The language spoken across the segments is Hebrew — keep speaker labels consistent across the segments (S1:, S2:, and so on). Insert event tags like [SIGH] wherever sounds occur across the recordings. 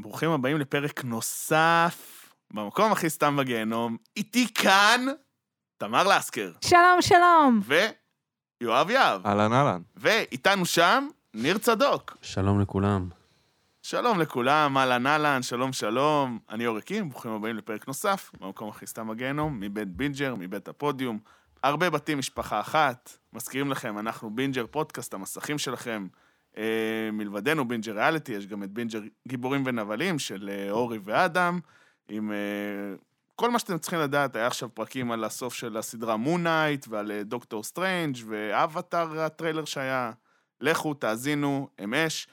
S1: ברוכים הבאים לפרק נוסף, במקום הכי סתם בגיהנום. איתי כאן, תמר לסקר,
S2: שלום, שלום.
S1: ויואב יהב,
S3: אהלן אהלן.
S1: ואיתנו שם, ניר צדוק.
S4: שלום לכולם.
S1: שלום לכולם, אהלן אהלן, שלום שלום. אני עורקים, ברוכים הבאים לפרק נוסף, במקום הכי סתם בגיהנום, מבית בינג'ר, מבית הפודיום. הרבה בתים, משפחה אחת. מזכירים לכם, אנחנו בינג'ר פודקאסט, המסכים שלכם. אה, מלבדנו בינג'ר ריאליטי, יש גם את בינג'ר גיבורים ונבלים של אה, אורי ואדם, עם אה, כל מה שאתם צריכים לדעת, היה עכשיו פרקים על הסוף של הסדרה מונייט, ועל אה, דוקטור סטרנג' ואבטאר הטריילר שהיה. לכו, תאזינו, הם אש.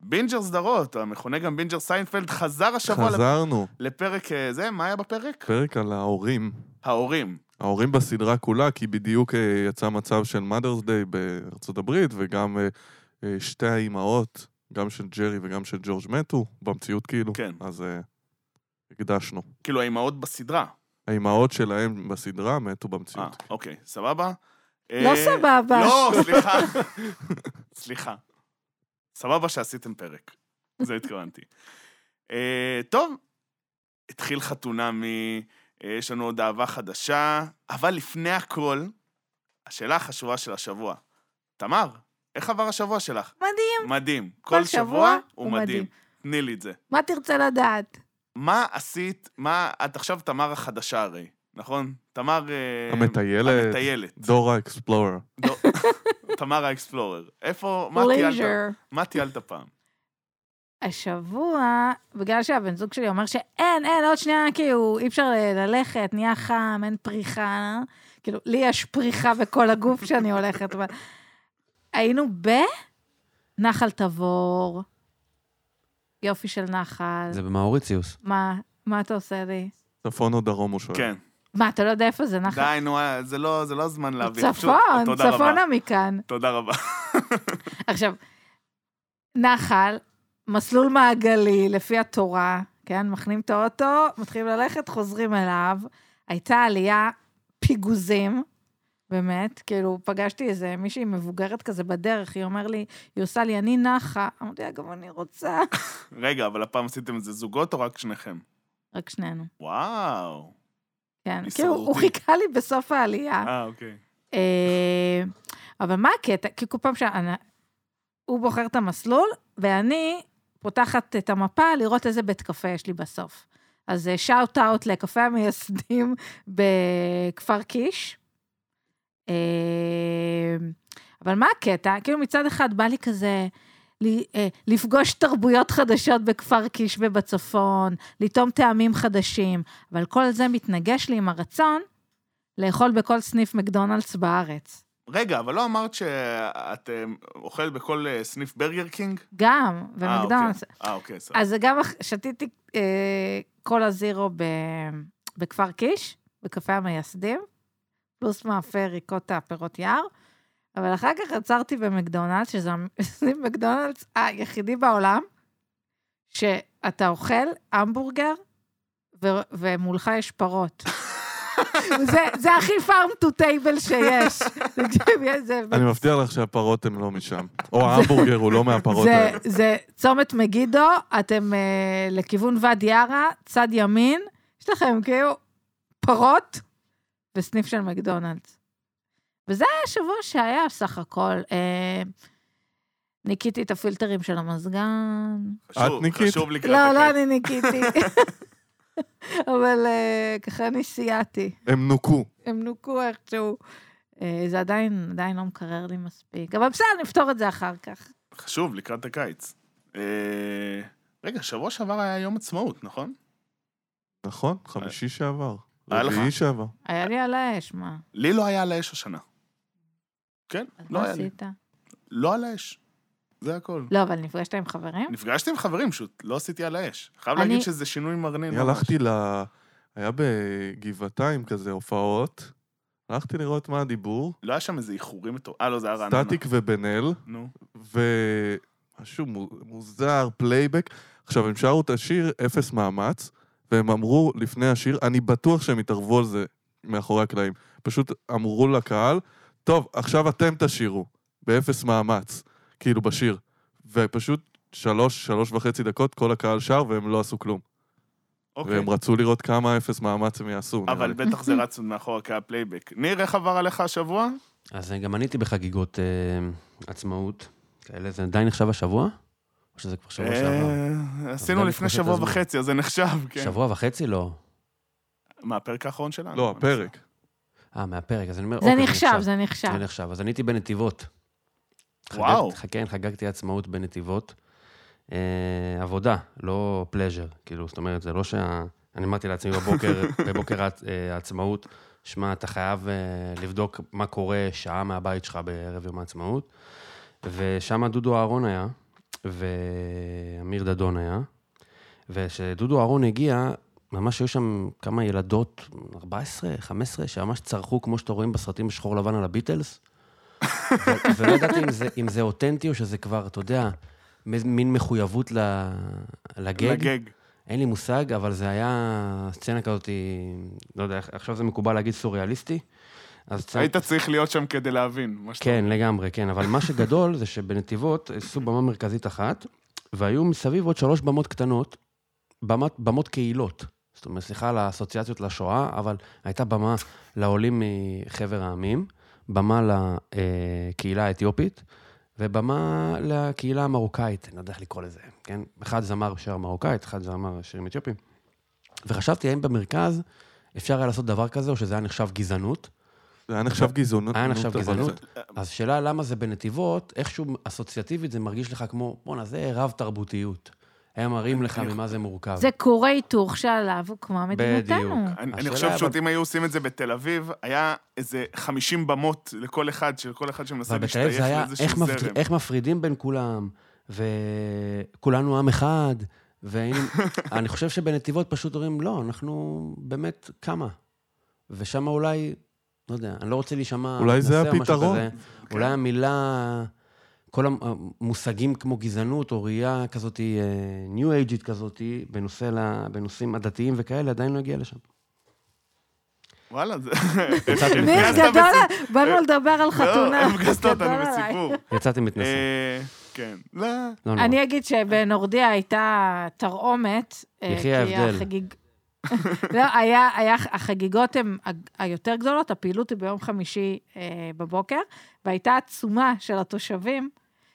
S1: בינג'ר סדרות, המכונה גם בינג'ר סיינפלד, חזר השבוע חזר.
S3: חזרנו,
S1: לפרק אה, זה, מה היה בפרק?
S3: פרק על ההורים.
S1: ההורים.
S3: ההורים בסדרה כולה, כי בדיוק אה, יצא מצב של Mother's Day בארצות הברית, וגם אה, אה, שתי האימהות, גם של ג'רי וגם של ג'ורג' מתו, במציאות כאילו.
S1: כן.
S3: אז אה, הקדשנו.
S1: כאילו, האימהות בסדרה.
S3: האימהות שלהם בסדרה מתו
S1: אה,
S3: במציאות.
S1: אוקיי, סבבה?
S2: לא
S1: אה,
S2: סבבה.
S1: [LAUGHS] לא, סליחה. סליחה. סבבה שעשיתם פרק. זה התכוונתי. אה, טוב, התחיל חתונה מ... אה, יש לנו עוד אהבה חדשה, אבל לפני הכל, השאלה החשובה של השבוע. תמר, איך עבר השבוע שלך?
S2: מדהים.
S1: מדהים. כל שבוע הוא מדהים. תני לי את זה.
S2: מה תרצה לדעת?
S1: מה עשית, מה, את עכשיו תמר החדשה הרי, נכון? תמר... אה,
S3: המטיילת.
S1: המטיילת.
S3: דורה אקספלורר.
S1: לא, תמר האקספלורר. איפה, מה טיילת?
S2: פלייז'ר.
S1: מה טיילת פעם?
S2: השבוע, בגלל שהבן זוג שלי אומר שאין, אין, עוד שנייה, כאילו, אי אפשר ל- ללכת, נהיה חם, אין פריחה. כאילו, לי יש פריחה בכל הגוף שאני הולכת. אבל- היינו בנחל תבור. יופי של נחל.
S4: זה במאוריציוס.
S2: מה, מה אתה עושה לי?
S3: צפון או דרום הוא שואל.
S1: כן.
S2: מה, אתה לא יודע איפה זה נחל?
S1: די, נו, אה, זה לא זה לא הזמן להעביר. פשוט,
S2: צפון,
S1: תודה רבה.
S2: צפונה מכאן.
S1: תודה רבה. [LAUGHS]
S2: עכשיו, נחל, מסלול מעגלי, לפי התורה, כן? מכנים את האוטו, מתחילים ללכת, חוזרים אליו. הייתה עלייה פיגוזים, באמת. כאילו, פגשתי איזה מישהי מבוגרת כזה בדרך, היא אומר לי, היא עושה לי, אני נחה. אמרתי לה, גם אני רוצה.
S1: רגע, אבל הפעם עשיתם את זה זוגות או רק שניכם?
S2: רק שנינו,
S1: וואו.
S2: כן.
S1: אני
S2: כאילו, הוא
S1: סרותי.
S2: חיכה לי בסוף העלייה.
S1: אה, אוקיי.
S2: אה, אבל מה הקטע? כי כל פעם שהוא בוחר את המסלול, ואני פותחת את המפה לראות איזה בית קפה יש לי בסוף. אז שאוט אאוט לקפה המייסדים [LAUGHS] בכפר קיש. אה, אבל מה הקטע? כאילו מצד אחד בא לי כזה... ל- אה, לפגוש תרבויות חדשות בכפר קיש ובצפון, לטעום טעמים חדשים, אבל כל זה מתנגש לי עם הרצון לאכול בכל סניף מקדונלדס בארץ.
S1: רגע, אבל לא אמרת שאת אה, אוכלת בכל אה, סניף ברגר קינג?
S2: גם,
S1: אה,
S2: ומקדונלדס.
S1: אוקיי. אה, אוקיי, סבבה.
S2: אז זה גם אח- שתיתי אה, קולה זירו ב, בכפר קיש, בקפה המייסדים, פלוס מאפה ריקוטה, פירות יער, אבל אחר כך עצרתי במקדונלדס, שזה סניף מקדונלדס היחידי בעולם, שאתה אוכל המבורגר, ו- ומולך יש
S1: [LAUGHS]
S2: פרות. זה, זה הכי farm to table שיש.
S1: [LAUGHS]
S2: תקשיב, זה
S3: אני מבטיח לך שהפרות הן לא משם.
S1: [LAUGHS]
S3: או ההמבורגר הוא לא מהפרות
S2: זה,
S3: האלה.
S2: זה צומת מגידו, אתם אה, לכיוון ואדי עארה, צד ימין, יש לכם כאילו פרות וסניף של מקדונלדס. וזה היה השבוע שהיה סך הכל. אה, ניקיתי את הפילטרים של המזגן.
S1: חשוב,
S3: את ניקית?
S1: חשוב לקראת
S2: לא, לא
S1: הקטע.
S2: אני ניקיתי. [LAUGHS] אבל אה, ככה אני סייעתי.
S3: הם נוקו.
S2: הם נוקו איכשהו. אה, זה עדיין, עדיין לא מקרר לי מספיק. אבל בסדר, נפתור את זה אחר כך.
S1: חשוב לקראת הקיץ. אה, רגע, שבוע שעבר היה יום עצמאות, נכון?
S3: נכון, חמישי שעבר.
S1: היה אה. לך?
S3: רביעי שעבר.
S2: היה לי על האש, מה?
S1: לי לא היה על האש השנה. כן,
S2: אז
S1: לא
S2: מה
S1: היה לי.
S2: עשית?
S1: לא על האש. זה הכל.
S2: לא, אבל נפגשת עם חברים?
S1: נפגשתי עם חברים, פשוט לא עשיתי על האש. חייב
S2: אני-
S1: להגיד שזה שינוי מרנין. לא
S3: אני
S1: ממש.
S3: הלכתי ל... היה בגבעתיים כזה הופעות, הלכתי לראות מה הדיבור,
S1: לא היה שם איזה איחורים מטור... אה, לא, זה היה רעננה.
S3: סטטיק ובן אל,
S1: נו.
S3: ומשהו מו- מוזר, פלייבק. עכשיו, הם שרו את השיר אפס מאמץ, והם אמרו לפני השיר, אני בטוח שהם התערבו על זה מאחורי הקלעים. פשוט אמרו לקהל, טוב, עכשיו אתם תשירו, באפס מאמץ, כאילו בשיר. ופשוט שלוש, שלוש וחצי דקות כל הקהל שר והם לא עשו כלום.
S1: אוקיי.
S3: והם רצו לראות כמה אפס מאמץ הם יעשו. נראה
S1: אבל
S3: לי.
S1: בטח זה רץ עוד מאחורה כהפלייבק. ניר, איך עבר עליך השבוע?
S4: אז אה, גם אני הייתי בחגיגות אה, עצמאות כאלה, זה עדיין נחשב השבוע? או שזה כבר שבוע שעבר?
S1: אה, עשינו
S4: אבל
S1: לפני
S4: תחושת
S1: שבוע
S4: הזמן.
S1: וחצי, אז זה נחשב, כן.
S4: שבוע וחצי לא.
S1: מה, הפרק האחרון שלנו?
S3: לא, הפרק.
S4: אה, מהפרק, אז אני אומר,
S2: זה
S4: אוקיי,
S2: נחשב, זה נחשב.
S4: זה נחשב. אז אני הייתי בנתיבות.
S1: וואו.
S4: חגגתי- כן, חגגתי עצמאות בנתיבות. אה, עבודה, לא פלז'ר. כאילו, זאת אומרת, זה לא שה... אני אמרתי לעצמי בבוקר, בבוקר העצ- אה, העצמאות, שמע, אתה חייב אה, לבדוק מה קורה שעה מהבית שלך בערב יום העצמאות. ושם דודו אהרון היה, ואמיר דדון היה. וכשדודו אהרון הגיע, ממש היו שם כמה ילדות, 14, 15, שממש צרחו, כמו שאתם רואים בסרטים בשחור לבן על הביטלס. ו- ולא ידעתי אם זה, אם זה אותנטי או שזה כבר, אתה יודע, מ- מין מחויבות ל- לגג.
S1: לגג.
S4: אין לי מושג, אבל זה היה סצנה כזאת, לא יודע, עכשיו זה מקובל להגיד סוריאליסטי. אז סצנה-
S1: היית צריך להיות שם כדי להבין. מה שאתה-
S4: כן, לגמרי, כן. אבל מה שגדול זה שבנתיבות עשו במה מרכזית אחת, והיו מסביב עוד שלוש במות קטנות, במת, במות קהילות. זאת אומרת, סליחה על האסוציאציות לשואה, אבל הייתה במה לעולים מחבר העמים, במה לקהילה האתיופית, ובמה לקהילה המרוקאית, אני לא יודע איך לקרוא לזה, כן? אחד זמר שר מרוקאית, אחד זמר שירים אתיופים. וחשבתי, האם במרכז אפשר היה לעשות דבר כזה, או שזה היה נחשב גזענות?
S3: זה היה נחשב גזענות.
S4: היה נחשב
S3: אבל זה-
S4: גזענות. אז שאלה למה זה בנתיבות, איכשהו אסוציאטיבית זה מרגיש לך כמו, בואנה, זה רב-תרבותיות. הם מראים לך ממה זה מורכב.
S2: זה כור היתוך שעליו הוקמה מדינתנו.
S3: כן.
S4: בדיוק.
S1: אני אני
S4: השאלה
S1: חושב
S4: אבל-
S1: שעוד אם היו עושים את זה בתל אביב, היה איזה 50 במות לכל אחד, של כל אחד שמנסה
S4: אבל בתל אביב
S1: להשתייך
S4: זה היה איך,
S1: לאיזשהו
S4: מפר...
S1: זרם.
S4: איך מפרידים בין כולם, וכולנו עם אחד, ואני חושב שבנתיבות פשוט אומרים, לא, אנחנו באמת כמה. ושם אולי, לא יודע, אני לא רוצה להישמע...
S3: אולי זה
S4: מתנשא או משהו
S3: הפתרון.
S4: כזה. אולי המילה, כל המושגים כמו גזענות או ראייה כזאת, ניו אייג'ית כזאת, בנושא ל- בנושאים הדתיים וכאלה, עדיין לא הגיע לשם.
S1: וואלה, זה...
S4: יצאתי
S2: ניר
S4: מתנשא.
S1: הפגזת
S2: גדול,
S1: בסיפור.
S2: באנו לדבר על
S1: לא,
S2: חתונה.
S1: הפגזת אותנו
S2: גדול עליי.
S1: בסיפור.
S4: יצאתי מתנשא.
S1: אה, כן. לא,
S4: לא נורא.
S2: אני אגיד שבנורדיה הייתה תרעומת. אה,
S4: יחי
S2: כי
S4: ההבדל.
S2: החגיג- [LAUGHS] לא, היה, היה, החגיגות הן ה- היותר גדולות, הפעילות היא ביום חמישי אה, בבוקר, והייתה עצומה של התושבים,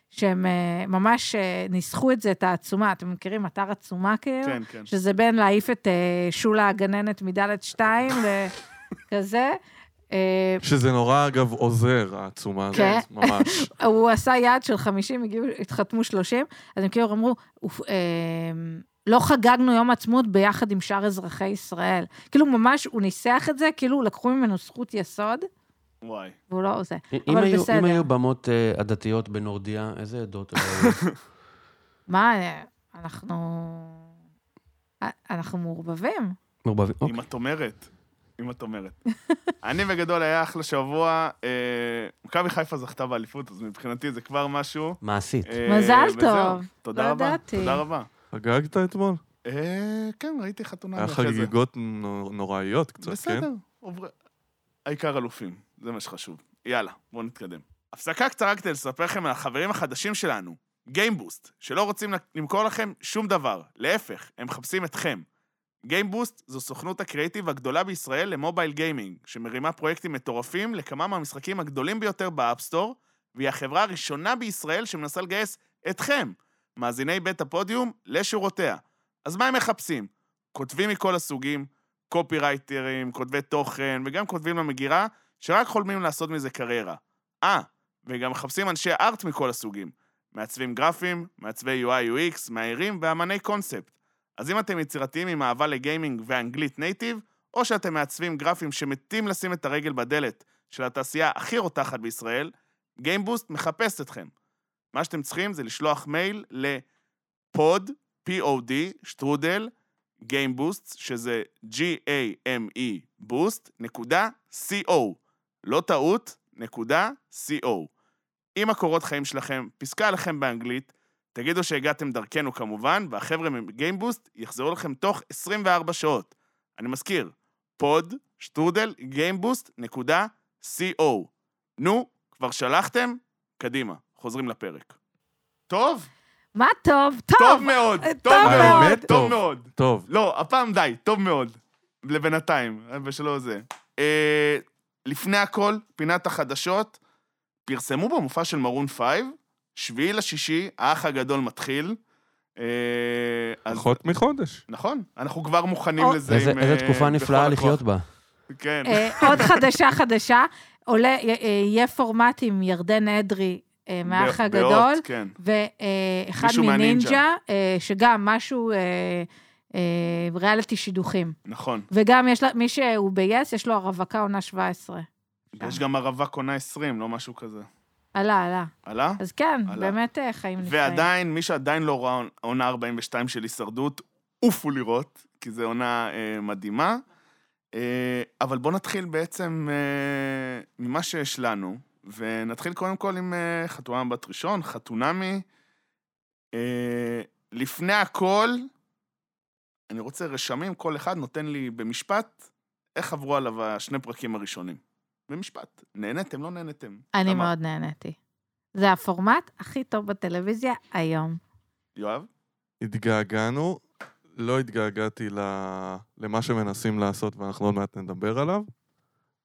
S2: שהם אה, ממש אה, ניסחו את זה, את העצומה. אתם מכירים אתר עצומה כאילו?
S1: כן, כן.
S2: שזה בין להעיף את אה, שולה הגננת מדלת שתיים לכזה. אה,
S3: שזה נורא, אגב, עוזר, העצומה
S2: כן.
S3: הזאת, ממש.
S2: הוא עשה יעד של 50, הגיעו, התחתמו 30, אז הם כאילו אמרו, "אוף, אמ, לא חגגנו יום עצמאות ביחד עם שאר אזרחי ישראל. כאילו, ממש, הוא ניסח את זה, כאילו, לקחו ממנו זכות יסוד,
S1: וואי.
S2: והוא לא זה.
S4: אם
S2: אבל
S4: היו-
S2: בסדר.
S4: אם היו במות אה, עדתיות בנורדיה, איזה עדות? היו?
S1: [LAUGHS]
S2: מה, אה, אנחנו... אה, אנחנו מעורבבים.
S4: מעורבבים.
S1: אם את אומרת. אם את אומרת. [LAUGHS] אני בגדול היה אחלה שבוע. אה, מכבי חיפה זכתה באליפות, אז מבחינתי זה כבר משהו.
S4: מעשית.
S1: אה,
S2: מזל
S1: וזהו.
S2: טוב.
S1: תודה
S2: לא
S1: רבה.
S2: ידעתי.
S1: תודה רבה.
S3: חגגת אתמול?
S1: אה, כן, ראיתי חתונה
S3: היה
S1: אחרי זה.
S3: חגיגות נו- נוראיות קצת, כן?
S1: בסדר, עובר... העיקר אלופים, זה מה שחשוב. יאללה, בואו נתקדם. הפסקה קצרה כדי לספר לכם על החברים החדשים שלנו, גיימבוסט, שלא רוצים למכור לכם שום דבר, להפך, הם מחפשים אתכם. גיימבוסט זו סוכנות הקריאיטיב הגדולה בישראל למובייל גיימינג, שמרימה פרויקטים מטורפים לכמה מהמשחקים הגדולים ביותר באפסטור, והיא החברה הראשונה בישראל שמנסה לגייס אתכם, מאזיני בית הפודיום, לשורותיה. אז מה הם מחפשים? כותבים מכל הסוגים, קופירייטרים, כותבי תוכן, וגם כותבים למגירה, שרק חולמים לעשות מזה קריירה. אה, וגם מחפשים אנשי ארט מכל הסוגים. מעצבים גרפים, מעצבי UI UX, מאיירים ואמני קונספט. אז אם אתם יצירתיים עם אהבה לגיימינג ואנגלית נייטיב, או שאתם מעצבים גרפים שמתים לשים את הרגל בדלת של התעשייה הכי רותחת בישראל, גיימבוסט מחפש אתכם. מה שאתם צריכים זה לשלוח מייל לפוד, POD, שטרודל, GameBoost, שזה G-A-M-E, בוסט, E, נקודה co. לא טעות, נקודה co. אם הקורות חיים שלכם פסקה עליכם באנגלית, תגידו שהגעתם דרכנו כמובן, והחבר'ה מגיימבוסט יחזרו לכם תוך 24 שעות. אני מזכיר, פוד, שטרודל, גיימבוסט, נקודה, co. נו, כבר שלחתם? קדימה, חוזרים לפרק. טוב?
S2: מה טוב, טוב.
S1: טוב מאוד,
S2: אה,
S1: טוב
S2: טוב
S1: מאוד,
S3: מאוד.
S1: טוב מאוד.
S3: טוב,
S1: לא, הפעם די, טוב מאוד. לבינתיים, ושלא זה. אה, לפני הכל, פינת החדשות, פרסמו במופע של מרון פייב, שביעי לשישי, האח הגדול מתחיל. אה, אז...
S3: פחות מחודש.
S1: נכון, אנחנו כבר מוכנים
S2: או-
S1: לזה
S4: איזה
S1: עם...
S4: איזה
S1: אה,
S4: תקופה
S1: בכל
S4: נפלאה
S1: הכוח.
S4: לחיות בה.
S1: כן.
S2: אה,
S1: [LAUGHS]
S2: עוד חדשה חדשה, עולה, אה, אה, יהיה פורמט עם ירדן אדרי אה, מהאח
S1: בא-
S2: הגדול,
S1: באות, כן.
S2: ואחד
S1: מישהו מהנינג'ה.
S2: מנינג'ה, אה, שגם משהו, אה, אה, ריאליטי שידוכים.
S1: נכון.
S2: וגם יש לה, מי שהוא ב-yes, יש לו הרווקה עונה 17. אה.
S1: יש גם ערבה קונה 20, לא משהו כזה.
S2: עלה, עלה.
S1: עלה?
S2: אז כן,
S1: עלה.
S2: באמת אה, חיים נפלאים.
S1: ועדיין, מי שעדיין לא ראה עונה 42 של הישרדות, עופו לראות, כי זו עונה אה, מדהימה. אה, אבל בואו נתחיל בעצם אה, ממה שיש לנו, ונתחיל קודם כל עם אה, חתונה בת ראשון, חתונמי. אה, לפני הכל, אני רוצה רשמים, כל אחד נותן לי במשפט איך עברו עליו השני פרקים הראשונים. במשפט. נהניתם, לא נהניתם.
S2: אני
S1: למה?
S2: מאוד נהניתי. זה הפורמט הכי טוב בטלוויזיה היום.
S1: יואב?
S3: התגעגענו, לא התגעגעתי ל... למה שמנסים לעשות, ואנחנו עוד מעט נדבר עליו,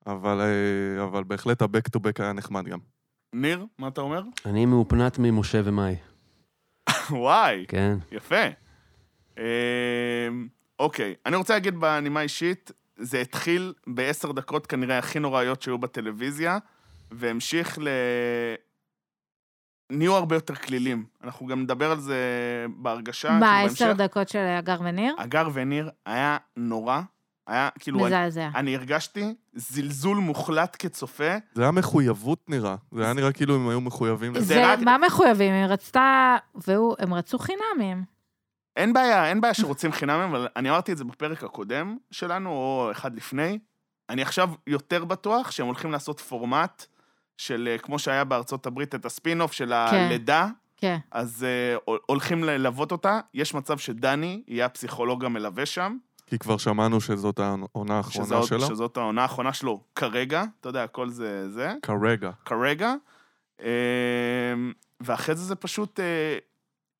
S3: אבל, אה, אבל בהחלט ה-back to back היה נחמד גם.
S1: ניר, מה אתה אומר? [LAUGHS]
S4: אני מאופנת ממשה ומאי,
S1: וואי.
S4: כן.
S1: יפה. אמ, אוקיי, אני רוצה להגיד בנימה אישית, זה התחיל בעשר דקות כנראה הכי נוראיות שהיו בטלוויזיה, והמשיך ל... נהיו הרבה יותר כלילים. אנחנו גם נדבר על זה בהרגשה.
S2: מה,
S1: כאילו,
S2: עשר
S1: בהמשך.
S2: דקות של הגר וניר?
S1: הגר וניר היה נורא, היה כאילו... אני,
S2: מזעזע.
S1: אני הרגשתי זלזול מוחלט כצופה.
S3: זה היה מחויבות נראה, זה היה נראה כאילו הם היו מחויבים לזה.
S1: זה רק-
S2: ומה מחויבים? היא רצתה, והוא, הם רצו חינמים.
S1: אין בעיה, אין בעיה שרוצים חינם, אבל אני אמרתי את זה בפרק הקודם שלנו, או אחד לפני. אני עכשיו יותר בטוח שהם הולכים לעשות פורמט של, אה, כמו שהיה בארצות הברית, את הספין-אוף של הלידה,
S2: כן.
S1: אז uh, הולכים ללוות אותה. יש מצב שדני יהיה הפסיכולוג המלווה שם,
S3: כי כבר שמענו שזאת העונה
S1: שזה
S3: האחרונה
S1: עוד-
S3: שלה.
S1: שזאת העונה האחרונה שלו כרגע, אתה יודע, הכל זה זה.
S3: כרגע.
S1: כרגע. אמ, ואחרי זה זה פשוט אה,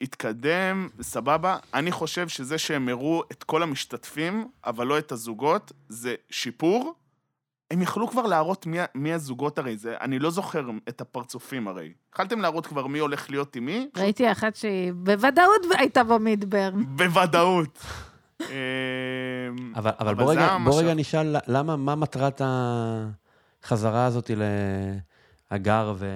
S1: התקדם, סבבה. אני חושב שזה שהם הראו את כל המשתתפים, אבל לא את הזוגות, זה שיפור. הם יכלו כבר להראות מי, ה- מי הזוגות הרי, זה, אני לא זוכר את הפרצופים הרי. יכלתם להראות כבר מי הולך להיות עם מי?
S2: ראיתי אחת שהיא בוודאות הייתה במידברן.
S1: בוודאות. אמ,
S4: אבל, אבל,
S1: אבל
S4: אבל בוא,
S1: זה
S4: רגע,
S1: המשך.
S4: בוא רגע נשאל למה, מה מטרת החזרה הזאת להגר ו...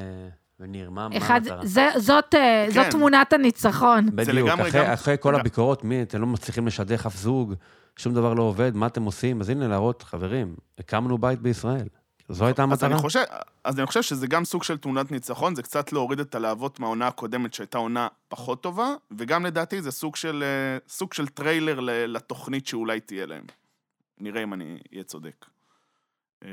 S4: וניר? מה, מה
S2: אחד,
S4: המטרה?
S2: זה, זאת, אה, זאת
S1: כן.
S2: תמונת הניצחון.
S4: בדיוק,
S1: לגמרי
S4: אחרי,
S1: גם-
S4: אחרי כל
S1: גם-
S4: הביקורות, מי, אתם לא מצליחים לשדך אף זוג, שום דבר לא עובד, מה אתם עושים? אז הנה, להראות, חברים, הקמנו בית בישראל. זו הייתה
S1: אז אני,
S4: המטרה?
S1: חושב, אז אני חושב שזה גם סוג של תמונת ניצחון, זה קצת להוריד את הלהבות מהעונה הקודמת, שהייתה עונה פחות טובה, וגם לדעתי זה סוג של, אה, סוג של טריילר ל- לתוכנית שאולי תהיה להם. נראה אם אני אהיה צודק. אה,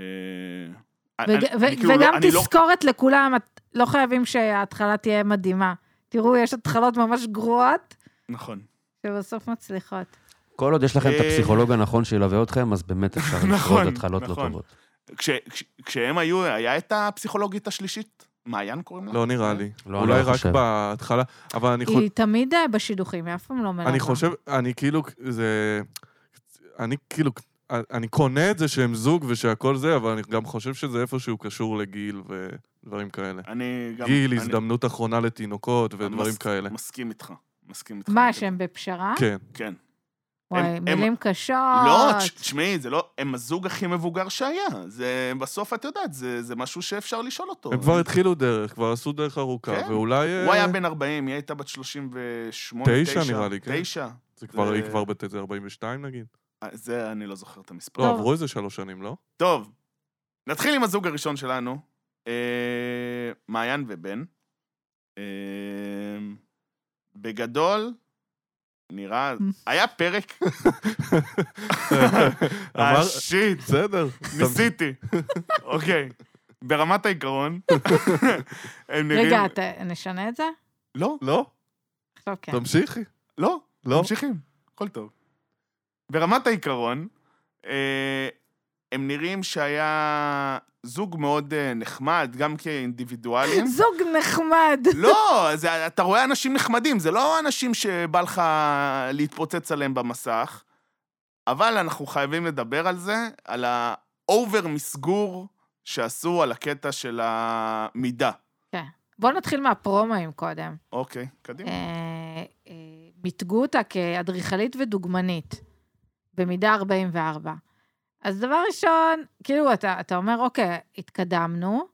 S1: אני-
S2: וג-
S1: אני-
S2: ו-
S1: אני כאילו לא-
S2: וגם
S1: אני לא-
S2: תזכורת לכולם, את לא חייבים שההתחלה תהיה מדהימה. תראו, יש התחלות ממש גרועות,
S1: נכון.
S2: שבסוף מצליחות.
S4: כל עוד יש לכם את
S1: אה,
S4: הפסיכולוג הנכון שילווה אתכם, אז באמת אפשר לשרוד
S1: [LAUGHS] נכון,
S4: התחלות לא
S1: נכון.
S4: טובות.
S1: כש, כש, כשהם היו, היה את הפסיכולוגית השלישית? מעיין קוראים לה?
S3: לא נראה לי.
S4: לא,
S3: אולי
S4: אני לא
S3: רק
S4: חושב.
S3: בהתחלה, אבל אני חושב...
S2: היא תמיד אה, בשידוכים, היא אף פעם לא מלאה.
S3: אני חושב, אני כאילו, זה... אני כאילו, אני קונה את זה שהם זוג ושהכל זה, אבל אני גם חושב שזה איפשהו קשור לגיל ודברים כאלה.
S1: אני גם...
S3: גיל,
S1: אני-
S3: הזדמנות אחרונה לתינוקות
S1: אני
S3: ודברים
S1: מס-
S3: כאלה.
S1: מסכים איתך. מסכים איתך.
S2: מה, שהם בפשרה?
S3: כן.
S1: כן.
S2: וואי,
S1: הם-
S2: מילים קשות.
S1: לא, תש- תשמעי, זה לא, הם הזוג הכי מבוגר שהיה. זה, בסוף את יודעת, זה, זה משהו שאפשר לשאול אותו.
S3: הם כבר התחילו דרך, כבר עשו דרך ארוכה,
S1: כן.
S3: ואולי... אה,
S1: הוא היה בן 40, היא הייתה בת 38,
S3: תשע, נראה לי, כן.
S1: 9.
S3: זה כבר,
S1: זה-
S3: היא כבר בת איזה 42 נגיד.
S1: זה, אני לא זוכר את המספר.
S3: לא,
S2: טוב.
S3: עברו איזה שלוש שנים, לא?
S1: טוב, נתחיל עם הזוג הראשון שלנו, אה, מעיין ובן. אה, בגדול, נראה... היה
S3: [LAUGHS]
S1: פרק...
S3: אמר-
S1: [LAUGHS] אה, שיט.
S3: בסדר.
S1: ניסיתי. אוקיי. ברמת העיקרון, הם נראים...
S2: רגע, אתה- נשנה את זה?
S1: לא,
S3: לא?
S2: עכשיו כן.
S3: תמשיכי.
S1: לא,
S3: לא?
S1: ממשיכים, הכל טוב. ברמת העיקרון, אה, הם נראים שהיה זוג מאוד אה, נחמד, גם כאינדיבידואלים.
S2: זוג נחמד.
S1: לא, זה, אתה רואה אנשים נחמדים, זה לא אנשים שבא לך להתפוצץ עליהם במסך, אבל אנחנו חייבים לדבר על זה, על האובר מסגור שעשו על הקטע של המידה.
S2: בואו נתחיל מהפרומואים קודם.
S1: אוקיי, קדימה.
S2: אה, אה, מיתגו אותה כאדריכלית ודוגמנית, במידה 44. אז דבר ראשון, כאילו, אתה, אתה אומר, אוקיי, התקדמנו,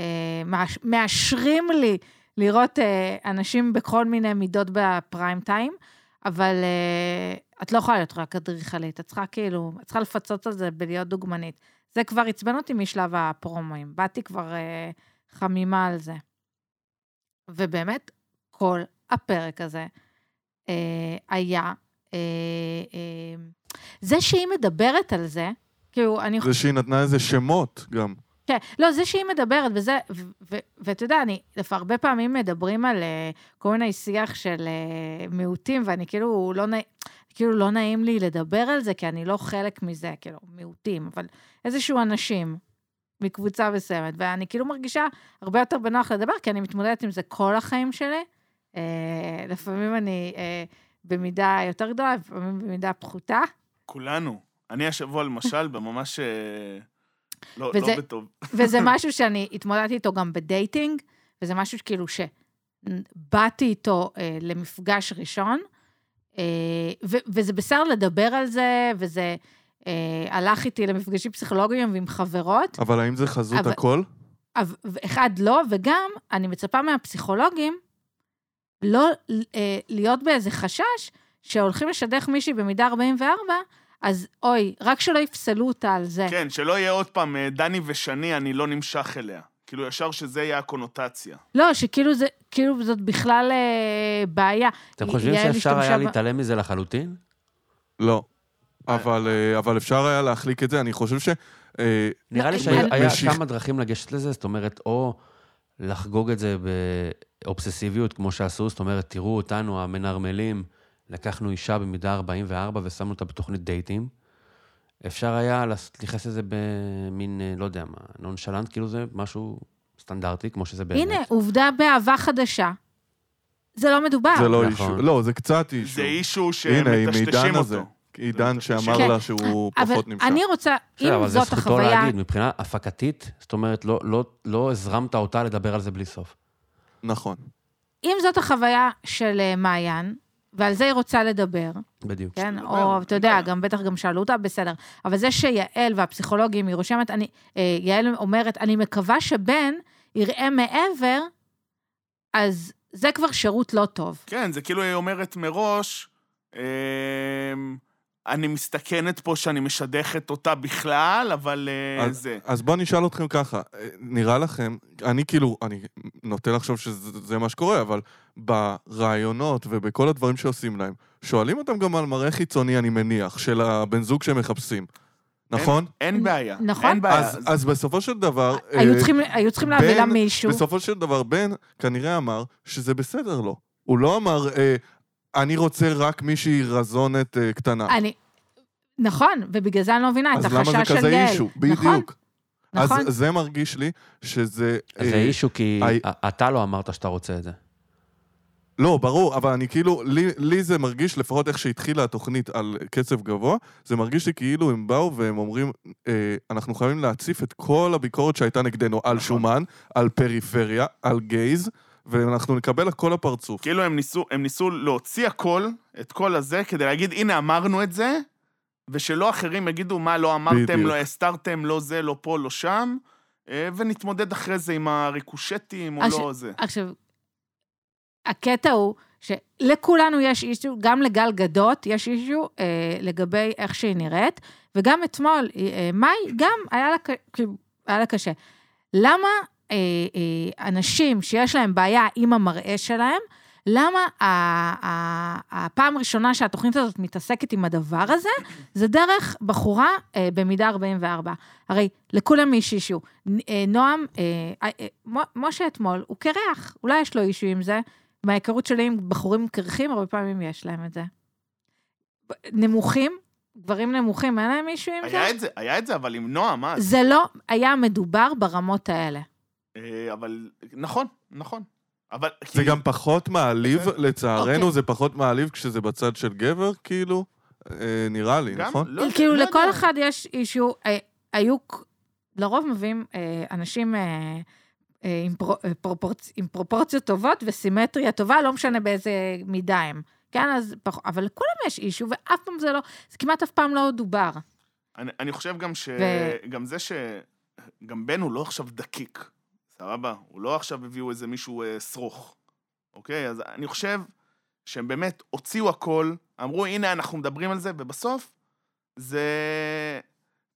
S2: אה, מאש- מאשרים לי לראות אה, אנשים בכל מיני מידות בפריים טיים, אבל אה, את לא יכולה להיות רק אדריכלית, את צריכה כאילו, את צריכה לפצות על זה בלהיות דוגמנית. זה כבר עצבן אותי משלב הפרומואים, באתי כבר אה, חמימה על זה. ובאמת, כל הפרק הזה אה, היה... אה, אה, זה שהיא מדברת על זה, כאילו, אני
S3: זה שהיא נתנה איזה שמות גם.
S2: כן, לא, זה שהיא מדברת, וזה, ו- ו- ואתה יודע, אני, לפ- הרבה פעמים מדברים על אה, כל מיני שיח של אה, מיעוטים, ואני כאילו לא, נע, כאילו לא נעים לי לדבר על זה, כי אני לא חלק מזה, כאילו, מיעוטים, אבל איזשהו אנשים מקבוצה מסוימת, ואני כאילו מרגישה הרבה יותר בנוח לדבר, כי אני מתמודדת עם זה כל החיים שלי. אה, לפעמים אני אה, במידה יותר גדולה, לפעמים במידה פחותה.
S1: כולנו. אני השבוע, למשל, בממש... אה, לא,
S2: וזה-
S1: לא בטוב.
S2: וזה משהו שאני התמודדתי איתו גם בדייטינג, וזה משהו שכאילו שבאתי איתו אה, למפגש ראשון, אה, ו- וזה בסדר לדבר על זה, וזה אה, הלך איתי למפגשים פסיכולוגיים ועם חברות,
S3: אבל האם זה חזות
S2: אבל-
S3: הכל?
S2: אבל- אחד לא, וגם אני מצפה מהפסיכולוגים לא אה, להיות באיזה חשש שהולכים לשדך מישהי במידה 44, אז אוי, רק שלא יפסלו אותה על זה.
S1: כן, שלא יהיה עוד פעם, אה, דני ושני, אני לא נמשך אליה. כאילו, ישר שזה יהיה הקונוטציה.
S2: לא, שכאילו זה, כאילו זאת בכלל אה, בעיה.
S4: אתם
S2: היא-
S4: חושבים
S2: יעל
S4: שאפשר
S2: השתמשה
S4: היה
S2: ב-
S4: להתעלם מזה לחלוטין?
S3: לא. אבל, אה, אבל אפשר היה להחליק את זה, אני חושב ש... אה,
S4: נראה לי
S2: אני-
S4: שהיו
S2: אני-
S4: היה
S3: משיך-
S4: כמה דרכים לגשת לזה, זאת אומרת, או לחגוג את זה באובססיביות, כמו שעשו, זאת אומרת, תראו אותנו, המנרמלים, לקחנו אישה במידה 44 ושמנו אותה בתוכנית דייטים. אפשר היה לס- להתייחס לזה במין, אה, לא יודע מה, נונשלנט, כאילו זה משהו סטנדרטי, כמו שזה באמת.
S2: הנה, עובדה באהבה חדשה. זה לא מדובר.
S3: זה לא
S4: נכון.
S3: אישו. לא, זה קצת אישו.
S1: זה אישו
S3: הנה, עם
S1: שמטשטשים
S3: עידן הזה.
S1: אותו.
S3: עידן שאמר
S2: כן.
S3: לה שהוא
S2: אבל
S3: פחות נמשך.
S2: אני רוצה,
S4: בסדר,
S2: אם
S4: אבל זה
S2: זאת
S4: זכותו
S2: החוויה...
S4: להגיד, מבחינה הפקתית, זאת אומרת, לא, לא, לא הזרמת אותה לדבר על זה בלי סוף.
S3: נכון.
S2: אם זאת החוויה של אה, מעיין, ועל זה היא רוצה לדבר,
S4: בדיוק.
S2: כן?
S1: לדבר,
S2: או, אתה
S1: אין
S2: יודע,
S1: בעיה.
S2: גם בטח גם שאלו אותה, בסדר. אבל זה שיעל והפסיכולוגים, היא רושמת, אני, אה, יעל אומרת, אני מקווה שבן יראה מעבר, אז זה כבר שירות לא טוב.
S1: כן, זה כאילו היא אומרת מראש, אמ, אני מסתכנת פה שאני משדכת אותה בכלל, אבל אה,
S3: אז-
S1: זה.
S3: אז בואו נשאל אתכם ככה, אה, נראה לכם, אני כאילו, אני נוטה לחשוב שזה זה מה שקורה, אבל ברעיונות ובכל הדברים שעושים להם, שואלים אותם גם על מראה חיצוני, אני מניח, של הבן זוג שמחפשים, נכון?
S1: אין בעיה.
S2: נכון.
S1: אין בעיה.
S3: אז, אז בסופו של דבר...
S2: היו
S3: אה,
S2: צריכים- היו צריכים להביא
S3: בן-
S2: לה מישהו.
S3: בסופו של דבר, בן כנראה אמר שזה בסדר לו. הוא לא אמר, אה, אני רוצה רק מישהי רזונת אה, קטנה.
S2: אני... נכון, ובגלל זה אני לא מבינה את
S3: אז למה זה
S2: החשש של
S3: כזה
S2: יעל.
S3: אישו?
S2: נכון,
S3: בדיוק. אז
S2: נכון.
S3: זה מרגיש לי שזה...
S4: זה
S3: אה,
S4: אישו כי
S3: היי-
S4: א- אתה לא אמרת שאתה רוצה את זה.
S3: לא, ברור, אבל אני כאילו, לי, לי זה מרגיש, לפחות איך שהתחילה התוכנית על קצב גבוה, זה מרגיש לי כאילו הם באו והם אומרים, אה, אנחנו חייבים להציף את כל הביקורת שהייתה נגדנו על
S2: נכון.
S3: שומן, על פריפריה, על גייז, ואנחנו נקבל הכל הפרצוף.
S1: כאילו הם ניסו, הם ניסו להוציא הכל, את כל הזה, כדי להגיד, הנה, אמרנו את זה, ושלא אחרים יגידו מה לא אמרתם,
S3: בדיוק.
S1: לא הסתרתם, לא זה, לא פה, לא שם, אה, ונתמודד אחרי זה עם הריקושטים או
S2: אז-
S1: לא זה.
S2: עכשיו, הקטע הוא שלכולנו יש אישו, גם לגל גדות יש אישו אה, לגבי איך שהיא נראית, וגם אתמול, אה, אה, מאי, גם היה לה, ק- כאילו, היה לה קשה. למה אה, אה, אנשים שיש להם בעיה עם המראה שלהם, למה ה- ה- הפעם הראשונה שהתוכנית הזאת מתעסקת עם הדבר הזה, זה דרך בחורה אה, במידה 44. הרי לכולם יש אישו. נ- אה, נועם, אה, אה, אה, מו- משה אתמול, הוא קרח, אולי יש לו אישו עם זה, מההיכרות שלי עם בחורים קרחים, הרבה פעמים יש להם את זה. נמוכים, גברים נמוכים, אין להם מישהו עם זה?
S1: היה את זה, היה את זה, אבל עם נועם אז.
S2: זה לא היה מדובר ברמות האלה.
S1: אה, אבל נכון, נכון. אבל... כאילו-
S3: זה
S1: כי-
S3: גם פחות מעליב,
S1: אוקיי.
S3: לצערנו
S2: אוקיי.
S3: זה פחות מעליב כשזה בצד של גבר, כאילו, אה, נראה לי,
S1: גם-
S3: נכון?
S1: לא יודע,
S2: כאילו,
S1: לא
S2: לכל
S1: יודע.
S2: אחד יש אישיו, אה, היו, ק- לרוב מביאים אה, אנשים אה, אה, עם, פרו, אה, פרופורצ, עם פרופורציות טובות וסימטריה טובה, לא משנה באיזה מידה הם. כן, אז פח... אבל לכולם יש אישיו, ואף פעם זה לא, זה כמעט אף פעם לא דובר.
S1: אני, אני חושב גם ש...
S2: ו-
S1: גם זה ש... גם בן הוא לא עכשיו דקיק, סבבה? הוא לא עכשיו הביאו איזה מישהו אה, שרוך, אוקיי? אז אני חושב שהם באמת הוציאו הכל, אמרו, הנה, אנחנו מדברים על זה, ובסוף זה...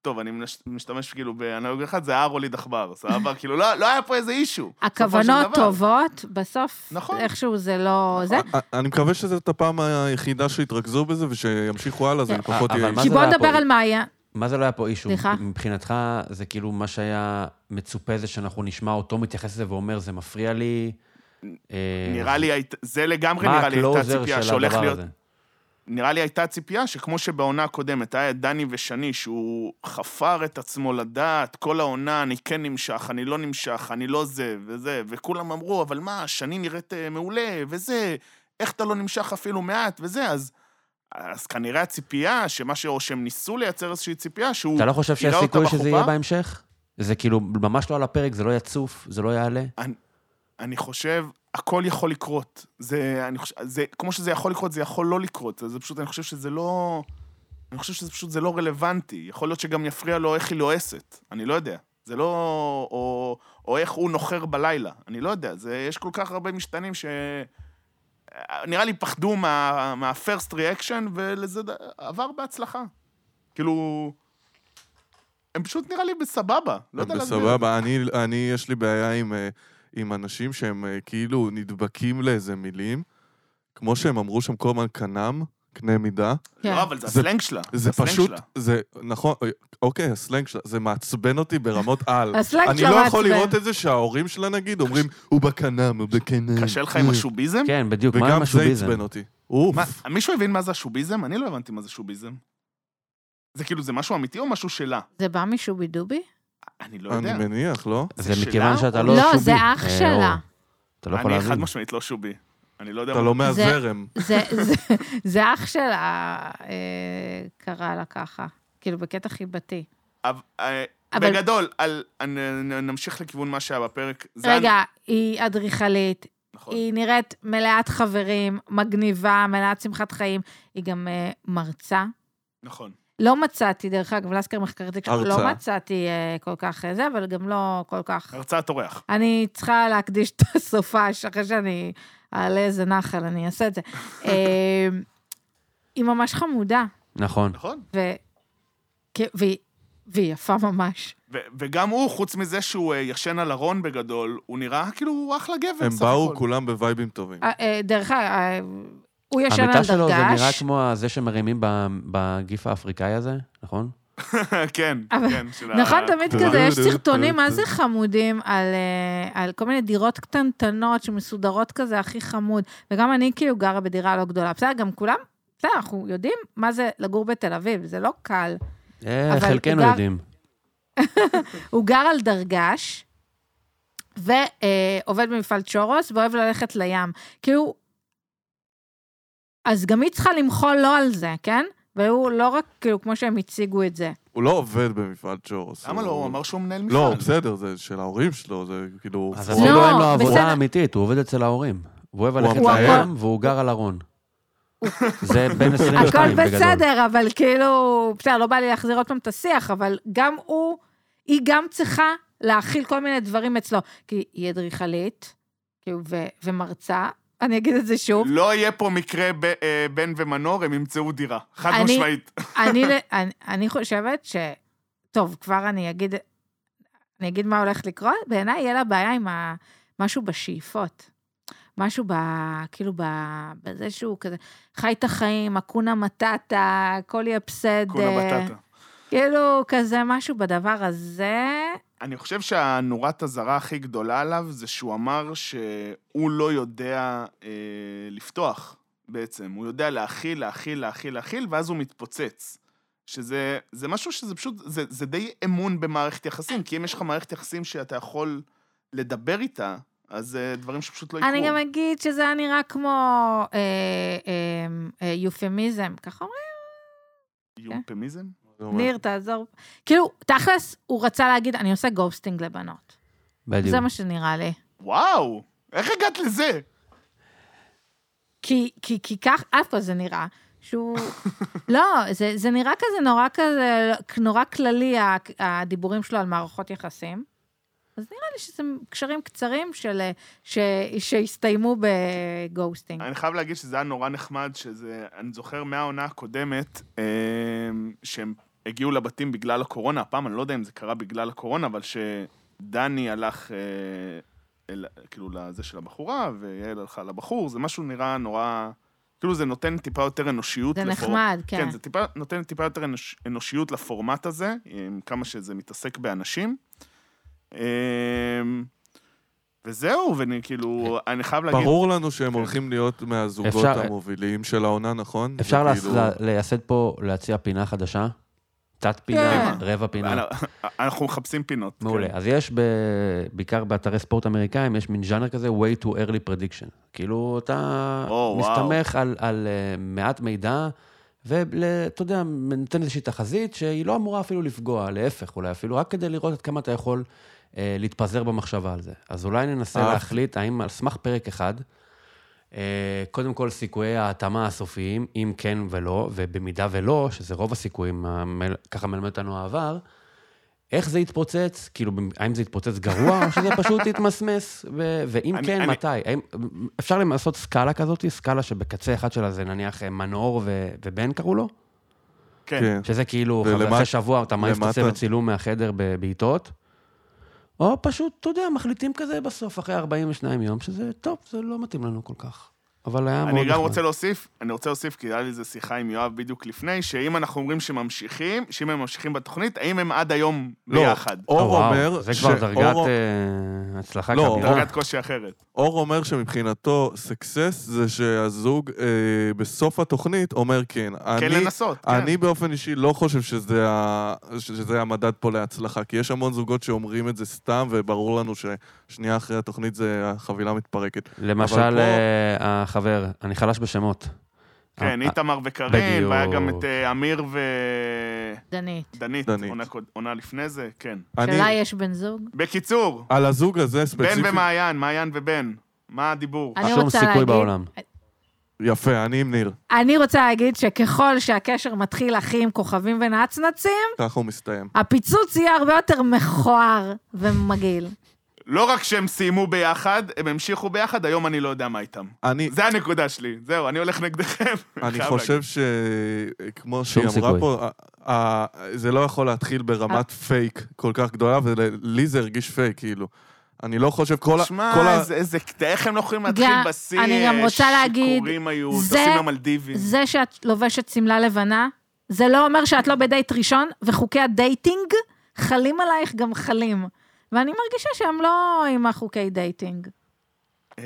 S1: טוב, אני מנש- משתמש כאילו באנלוגיה אחת, זה היה רוליד עכבר,
S2: [LAUGHS]
S1: סבבה? כאילו, לא, לא היה פה איזה אישו.
S2: הכוונות
S1: דבר.
S2: טובות, בסוף,
S1: נכון.
S2: איכשהו זה לא... זה.
S3: אה, אני מקווה שזאת הפעם היחידה שיתרכזו בזה ושימשיכו הלאה, זה
S2: אה,
S3: פחות
S4: אבל
S3: יהיה...
S4: מה
S2: כי
S4: זה
S2: בוא
S4: היה
S2: נדבר
S4: פה?
S2: על מה היה.
S4: מה זה לא היה פה אישו?
S2: סליחה?
S4: מבחינתך, זה כאילו מה שהיה מצופה זה שאנחנו נשמע אותו מתייחס לזה ואומר, זה מפריע לי. אה,
S1: נראה לי, היית- זה לגמרי
S4: מה
S1: נראה לי הייתה
S4: הקלוזר
S1: ציפייה
S4: של
S1: שהולך
S4: הדבר
S1: להיות...
S4: הזה?
S1: נראה לי הייתה ציפייה שכמו שבעונה הקודמת היה את דני ושני, שהוא חפר את עצמו לדעת, כל העונה, אני כן נמשך, אני לא נמשך, אני לא זה וזה, וכולם אמרו, אבל מה, שני נראית אה, מעולה, וזה, איך אתה לא נמשך אפילו מעט, וזה, אז, אז כנראה הציפייה, שמה ש... או שהם ניסו לייצר איזושהי ציפייה, שהוא...
S4: אתה לא חושב שיש
S1: יראה
S4: סיכוי
S1: אותה
S4: שזה
S1: בחופה?
S4: יהיה בהמשך? זה כאילו ממש לא על הפרק, זה לא יצוף, זה לא יעלה.
S1: אני חושב, הכל יכול לקרות. זה, אני חושב, זה, כמו שזה יכול לקרות, זה יכול לא לקרות. זה פשוט, אני חושב שזה לא... אני חושב שזה פשוט, זה לא רלוונטי. יכול להיות שגם יפריע לו איך היא לועסת. אני לא יודע. זה לא... או, או איך הוא נוחר בלילה. אני לא יודע. זה, יש כל כך הרבה משתנים ש... נראה לי פחדו מה, מה-first reaction, ולזה ד- עבר בהצלחה. כאילו... הם פשוט נראה לי בסבבה. לא יודע להסביר.
S3: בסבבה, אני, אני, יש לי בעיה עם, אה, עם אנשים שהם אה, כאילו נדבקים לאיזה מילים, כמו שהם אמרו שם כל הזמן כנם, קנה מידה.
S2: כן.
S1: לא, אבל זה
S3: זה-
S1: הסלנג שלה.
S3: זה
S1: הסלנג
S3: פשוט,
S1: שלה.
S3: זה נכון, אה, אוקיי, הסלנג שלה, זה מעצבן אותי ברמות על.
S2: הסלנג
S3: אני
S2: שלה
S3: לא יכול
S2: מעצבן.
S3: לראות את זה שההורים שלה נגיד אומרים, הוא בכנם, הוא בכנם.
S1: קשה לך עם השוביזם?
S4: כן, בדיוק, מה עם
S3: וגם זה
S4: השוביזם?
S3: עצבן אותי. אוף.
S1: מה, מישהו הבין מה זה השוביזם? אני לא הבנתי מה זה שוביזם. זה כאילו, זה משהו אמיתי או משהו שלה?
S2: זה בא משובי דובי?
S1: אני לא יודע.
S3: אני מניח, לא?
S4: זה
S1: זה
S4: מכיוון
S1: שלה?
S4: שאתה לא שובי.
S2: לא, זה אח
S4: אה,
S2: שלה.
S4: אור. אתה לא יכול
S1: אני
S4: להבין.
S1: חד משמעית לא שובי. אני לא יודע...
S3: אתה
S1: מה-
S3: לא מהזרם.
S2: זה, זה, זה אח שלה אה, קרא לה ככה, כאילו בקטע חיבתי.
S1: אבל- אה,
S2: אבל-
S1: בגדול, על- אני- נ- נמשיך לכיוון מה שהיה בפרק. זן-
S2: רגע, היא אדריכלית,
S1: נכון.
S2: היא נראית מלאת חברים, מגניבה, מלאת שמחת חיים, היא גם אה, מרצה.
S1: נכון.
S2: לא מצאתי, דרך אגב, לסקר מחקרתי, כשאנחנו לא
S3: הרצאה.
S2: מצאתי אה, כל כך אה, זה, אבל גם לא כל כך...
S1: הרצאת אורח.
S2: אני צריכה להקדיש את הסופש, אחרי שאני אעלה איזה נחל, אני אעשה
S1: [LAUGHS]
S2: את זה. אה, היא ממש חמודה,
S4: נכון.
S1: נכון.
S2: ו... כ- והיא- והיא יפה ממש.
S1: ו- וגם הוא, חוץ מזה שהוא אה, ישן על ארון בגדול, הוא נראה כאילו הוא אחלה גבר.
S3: הם
S1: סך
S3: באו
S1: הכל.
S3: כולם בווייבים טובים.
S2: אה, אה, דרך אגב, אה, הוא ישן על
S4: המיטה
S2: דרגש.
S4: שלו זה נראה כמו זה שמרימים ב- בגיף האפריקאי הזה,
S1: [LAUGHS]
S4: נכון?
S1: כן,
S2: אבל-
S1: כן. של ה-
S2: נכון, תמיד
S3: טוב.
S2: כזה, יש
S3: טוב,
S2: סרטונים,
S3: טוב,
S2: מה זה חמודים, על, אה, על כל מיני דירות קטנטנות שמסודרות כזה, הכי חמוד. וגם אני כאילו גרה בדירה לא גדולה. בסדר, גם כולם, בסדר, אנחנו יודעים מה זה לגור בתל אביב, זה לא קל.
S4: אה,
S2: אבל
S4: חלקנו
S2: גם-
S4: יודעים.
S2: הוא גר על דרגש, ועובד במפעל צ'ורוס, ואוהב ללכת לים. כאילו, אז גם היא צריכה למחול לו על זה, כן? והוא לא רק, כאילו, כמו שהם הציגו את זה.
S3: הוא לא עובד במפעל צ'ורוס.
S1: למה לא? הוא אמר שהוא מנהל מפעל.
S3: לא, בסדר, זה של ההורים שלו, זה כאילו...
S4: אז
S3: הוא-
S4: אפילו
S2: לא,
S4: אין לו
S2: בסדר.
S4: עבודה אמיתית, הוא עובד אצל ההורים. הוא אוהב ללכת
S2: הוא
S4: לים והוא גר על ארון. זה [LAUGHS] בן 22
S2: הכל
S4: בגדול.
S2: בסדר, אבל כאילו, בסדר, לא בא לי להחזיר עוד פעם את השיח, אבל גם הוא, היא גם צריכה להכיל כל מיני דברים אצלו. כי היא אדריכלית, כאילו, ו- ומרצה, אני אגיד את זה שוב.
S1: לא יהיה פה מקרה ב- אה, בן ומנור, הם ימצאו דירה. חד
S2: אני-
S1: משמעית.
S2: אני, ל- אני, אני חושבת ש... טוב, כבר אני אגיד, אני אגיד מה הולך לקרות. בעיניי יהיה לה בעיה עם ה, משהו בשאיפות. משהו ב... כאילו ב... בזה שהוא כזה חי את החיים, הקונה מטאטה, הכל יהיה בסדר.
S1: כולה בטטה.
S2: כאילו, כזה משהו בדבר הזה,
S1: אני חושב שהנורת אזהרה הכי גדולה עליו זה שהוא אמר שהוא לא יודע אה, לפתוח בעצם. הוא יודע להכיל, להכיל, להכיל, להכיל, ואז הוא מתפוצץ. שזה זה משהו שזה פשוט, זה, זה די אמון במערכת יחסים, כי אם יש לך מערכת יחסים שאתה יכול לדבר איתה, אז זה דברים שפשוט לא יקרו.
S2: אני גם אגיד שזה היה נראה כמו אה, אה, אה, יופמיזם, ככה אומרים?
S1: יומפמיזם?
S3: אוקיי.
S2: ניר, תעזור. כאילו, תכלס, הוא רצה להגיד, אני עושה גוסטינג לבנות.
S4: בדיוק.
S2: זה מה שנראה לי.
S1: וואו, איך הגעת לזה?
S2: כי, כי, כי כך, אף פעם זה נראה. שהוא... לא, זה, זה נראה כזה נורא כזה, נורא כללי, ה- הדיבורים שלו על מערכות יחסים. אז נראה לי שזה קשרים קצרים של, ש, שהסתיימו בגוסטינג.
S1: אני חייב להגיד שזה היה נורא נחמד, שזה... אני זוכר מהעונה הקודמת, אה, שהם הגיעו לבתים בגלל הקורונה, הפעם אני לא יודע אם זה קרה בגלל הקורונה, אבל שדני הלך, אה, אל, כאילו, לזה של הבחורה, ויעל הלכה לבחור, זה משהו נראה נורא... כאילו זה נותן טיפה יותר אנושיות.
S2: זה
S1: לפור-
S2: נחמד, כן.
S1: כן, זה טיפה, נותן טיפה יותר אנוש, אנושיות לפורמט הזה, עם כמה שזה מתעסק באנשים. אה, וזהו, ואני כאילו, אני חייב להגיד...
S3: ברור לנו שהם
S1: כן.
S3: הולכים להיות מהזוגות
S4: אפשר-
S3: המובילים של העונה, נכון?
S4: אפשר
S3: זה
S4: לעש-
S3: כאילו-
S4: לה- לייסד פה, להציע פינה חדשה? תת פינה,
S2: כן.
S4: רבע פינה.
S1: אנחנו [LAUGHS] מחפשים פינות.
S4: מעולה.
S1: כן.
S4: אז יש, ב... בעיקר באתרי ספורט אמריקאים, יש מין ז'אנר כזה, way to early prediction. כאילו, אתה
S1: או,
S4: מסתמך על, על אה, מעט מידע, ואתה יודע, נותן איזושהי תחזית שהיא לא אמורה אפילו לפגוע, להפך, אולי אפילו, רק כדי לראות עד כמה אתה יכול אה, להתפזר במחשבה על זה. אז אולי ננסה
S3: אה.
S4: להחליט האם על סמך פרק אחד, אה, קודם כל סיכויי ההתאמה הסופיים, אם כן ולא, ובמידה ולא, שזה רוב הסיכויים, המל- ככה מלמד אותנו העבר, איך זה יתפוצץ? כאילו, במ- האם זה יתפוצץ גרוע, או שזה פשוט יתמסמס? ו- ואם
S1: אני-
S4: כן,
S1: אני-
S4: מתי? האם, אפשר לעשות סקאלה כזאת, סקאלה שבקצה אחד שלה זה נניח אה, מנור ו- ובן קראו לו?
S1: כן.
S3: כן.
S4: שזה כאילו,
S3: ולמה-
S4: אחרי שבוע אתה מעיף את
S3: למה אתה-
S4: הצוות צילום מהחדר בבעיטות, או פשוט, אתה יודע, מחליטים כזה בסוף, אחרי 42 יום, שזה, טוב, זה לא מתאים לנו כל כך. אבל היה מאוד נכון.
S1: אני
S4: נחמד.
S1: גם רוצה להוסיף, אני רוצה להוסיף, כי היה לי איזה שיחה עם יואב בדיוק לפני, שאם אנחנו אומרים שממשיכים, שאם הם ממשיכים בתוכנית, האם הם עד היום
S3: לא,
S1: ביחד?
S3: אור
S4: וואו,
S3: אומר
S4: זה
S3: ש-
S4: כבר דרגת
S3: אור-
S4: אה, הצלחה
S3: לא,
S4: כבירה.
S1: דרגת קושי אחרת.
S3: אור אומר שמבחינתו סקסס זה שהזוג אה, בסוף התוכנית אומר כן.
S1: כן
S3: אני-
S1: לנסות, כן.
S3: אני באופן אישי לא חושב שזה, ה... שזה המדד פה להצלחה, כי יש המון זוגות שאומרים את זה סתם, וברור לנו ששנייה אחרי התוכנית זה החבילה מתפרקת. אבל
S4: למשל,
S3: פה-
S4: אה, החבר, אני חלש בשמות.
S1: כן,
S4: אה,
S1: איתמר וקארין,
S4: בדיוק.
S1: והיה גם את אה, אמיר
S2: דנית.
S1: ודנית,
S3: דנית.
S1: עונה קוד- עונה לפני זה, כן.
S3: אני,
S2: שלה יש בן זוג?
S1: בקיצור,
S3: על הזוג הזה
S1: בן
S3: ספציפית,
S1: ומעיין, מעיין ובן, מה הדיבור?
S2: אני
S4: שום
S2: רוצה
S4: סיכוי
S2: להגיד-
S4: בעולם.
S3: יפה, אני עם ניר,
S2: אני רוצה להגיד שככל שהקשר מתחיל הכי עם כוכבים ונצנצים,
S3: ככה הוא מסתיים.
S2: הפיצוץ יהיה הרבה יותר מכוער ומגעיל.
S1: לא רק שהם סיימו ביחד, הם המשיכו ביחד, היום אני לא יודע מה איתם.
S3: אני,
S1: זה הנקודה שלי, זהו, אני הולך נגדכם.
S3: אני
S1: חייב
S3: חושב שכמו
S4: שום
S3: שהיא אמרה
S4: סיכוי.
S3: פה, ה- ה- זה לא יכול להתחיל
S1: אה.
S3: ברמת פייק כל כך גדולה, ולי זה הרגיש פייק, כאילו. אני לא חושב, כל ה... כל
S1: שמע,
S3: ה-
S1: איזה, איזה, איך הם לא יכולים להתחיל
S2: גם-
S1: בשיא?
S2: אני גם רוצה להגיד,
S1: שיכורים היו,
S2: זה-
S1: טסים למלדיבים.
S2: זה שאת לובשת שמלה לבנה, זה לא אומר שאת לא בדייט ראשון, וחוקי הדייטינג חלים עלייך גם חלים. ואני מרגישה שהם לא עם החוקי דייטינג.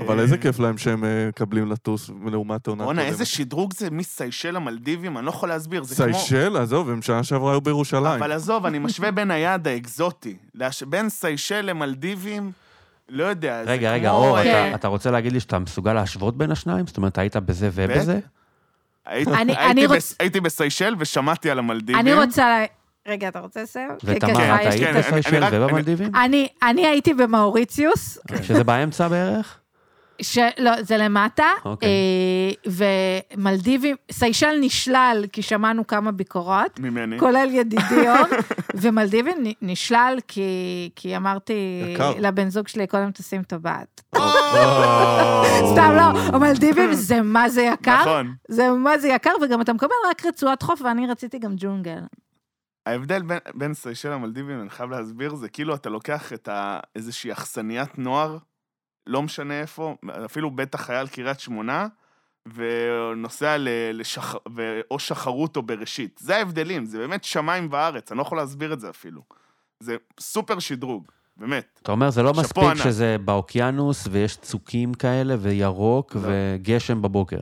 S3: אבל איזה כיף להם שהם אה, מקבלים לטוס לעומת העונה
S1: אה, בואנה,
S3: הקודמת.
S1: איזה שדרוג זה מסיישל למלדיבים, אני לא יכול להסביר, זה כמו...
S3: סיישל, עזוב, הם שנה שעברה היו בירושלים.
S1: אבל עזוב, אני משווה בין היעד האקזוטי, להש- בין סיישל למלדיבים, לא יודע, זה כמו...
S4: רגע, רגע, אור,
S1: אה,
S2: כן.
S4: אתה- אתה רוצה להגיד לי שאתה מסוגל להשוות בין השניים? זאת אומרת, היית בזה ובזה?
S1: הייתי-
S2: אני-
S1: הייתי
S2: אני
S1: בס-
S2: רוצ-
S1: הייתי בסיישל ושמעתי על המלדיבים.
S2: אני רוצה... לה- רגע, אתה רוצה לסיים? כן, כן,
S4: ותמר,
S1: אה,
S4: את
S2: יש אה,
S1: כן,
S4: היית
S1: אני-
S2: כזה.
S1: אני כן.
S4: בסיישל
S1: רק-
S4: ובמלדיבים?
S2: אני- אני הייתי במאוריציוס,
S4: שזה באמצע בערך?
S2: שלא, זה למטה,
S4: אוקיי.
S2: אה, ומלדיבים, סיישל נשלל, כי שמענו כמה ביקורות,
S1: ממני.
S2: כולל ידידי
S4: [LAUGHS]
S2: אור, ומלדיבים נ- נשלל כי, כי אמרתי
S3: יקר.
S2: לבן זוג שלי, קודם תשים טבעת.
S3: אה,
S1: וואו.
S2: סתם לא,
S1: [CLEARS THROAT]
S2: המלדיבים זה מה זה יקר,
S1: נכון.
S2: זה מה זה יקר, וגם אתה מקבל רק רצועת חוף, ואני רציתי גם ג'ונגל.
S1: ההבדל בין, בין סיישל למלדיבים, אני חייב להסביר, זה כאילו אתה לוקח את ה, איזושהי אכסניית נוער, לא משנה איפה, אפילו בית החייל קריית שמונה, ונוסע ל, לשח, ו, או שחרות או בראשית. זה ההבדלים, זה באמת שמיים וארץ, אני לא יכול להסביר את זה אפילו. זה סופר שדרוג, באמת.
S5: אתה אומר, זה לא
S1: שאפו
S5: מספיק
S1: ענק.
S5: שזה באוקיינוס ויש צוקים כאלה וירוק
S1: לא.
S5: וגשם בבוקר.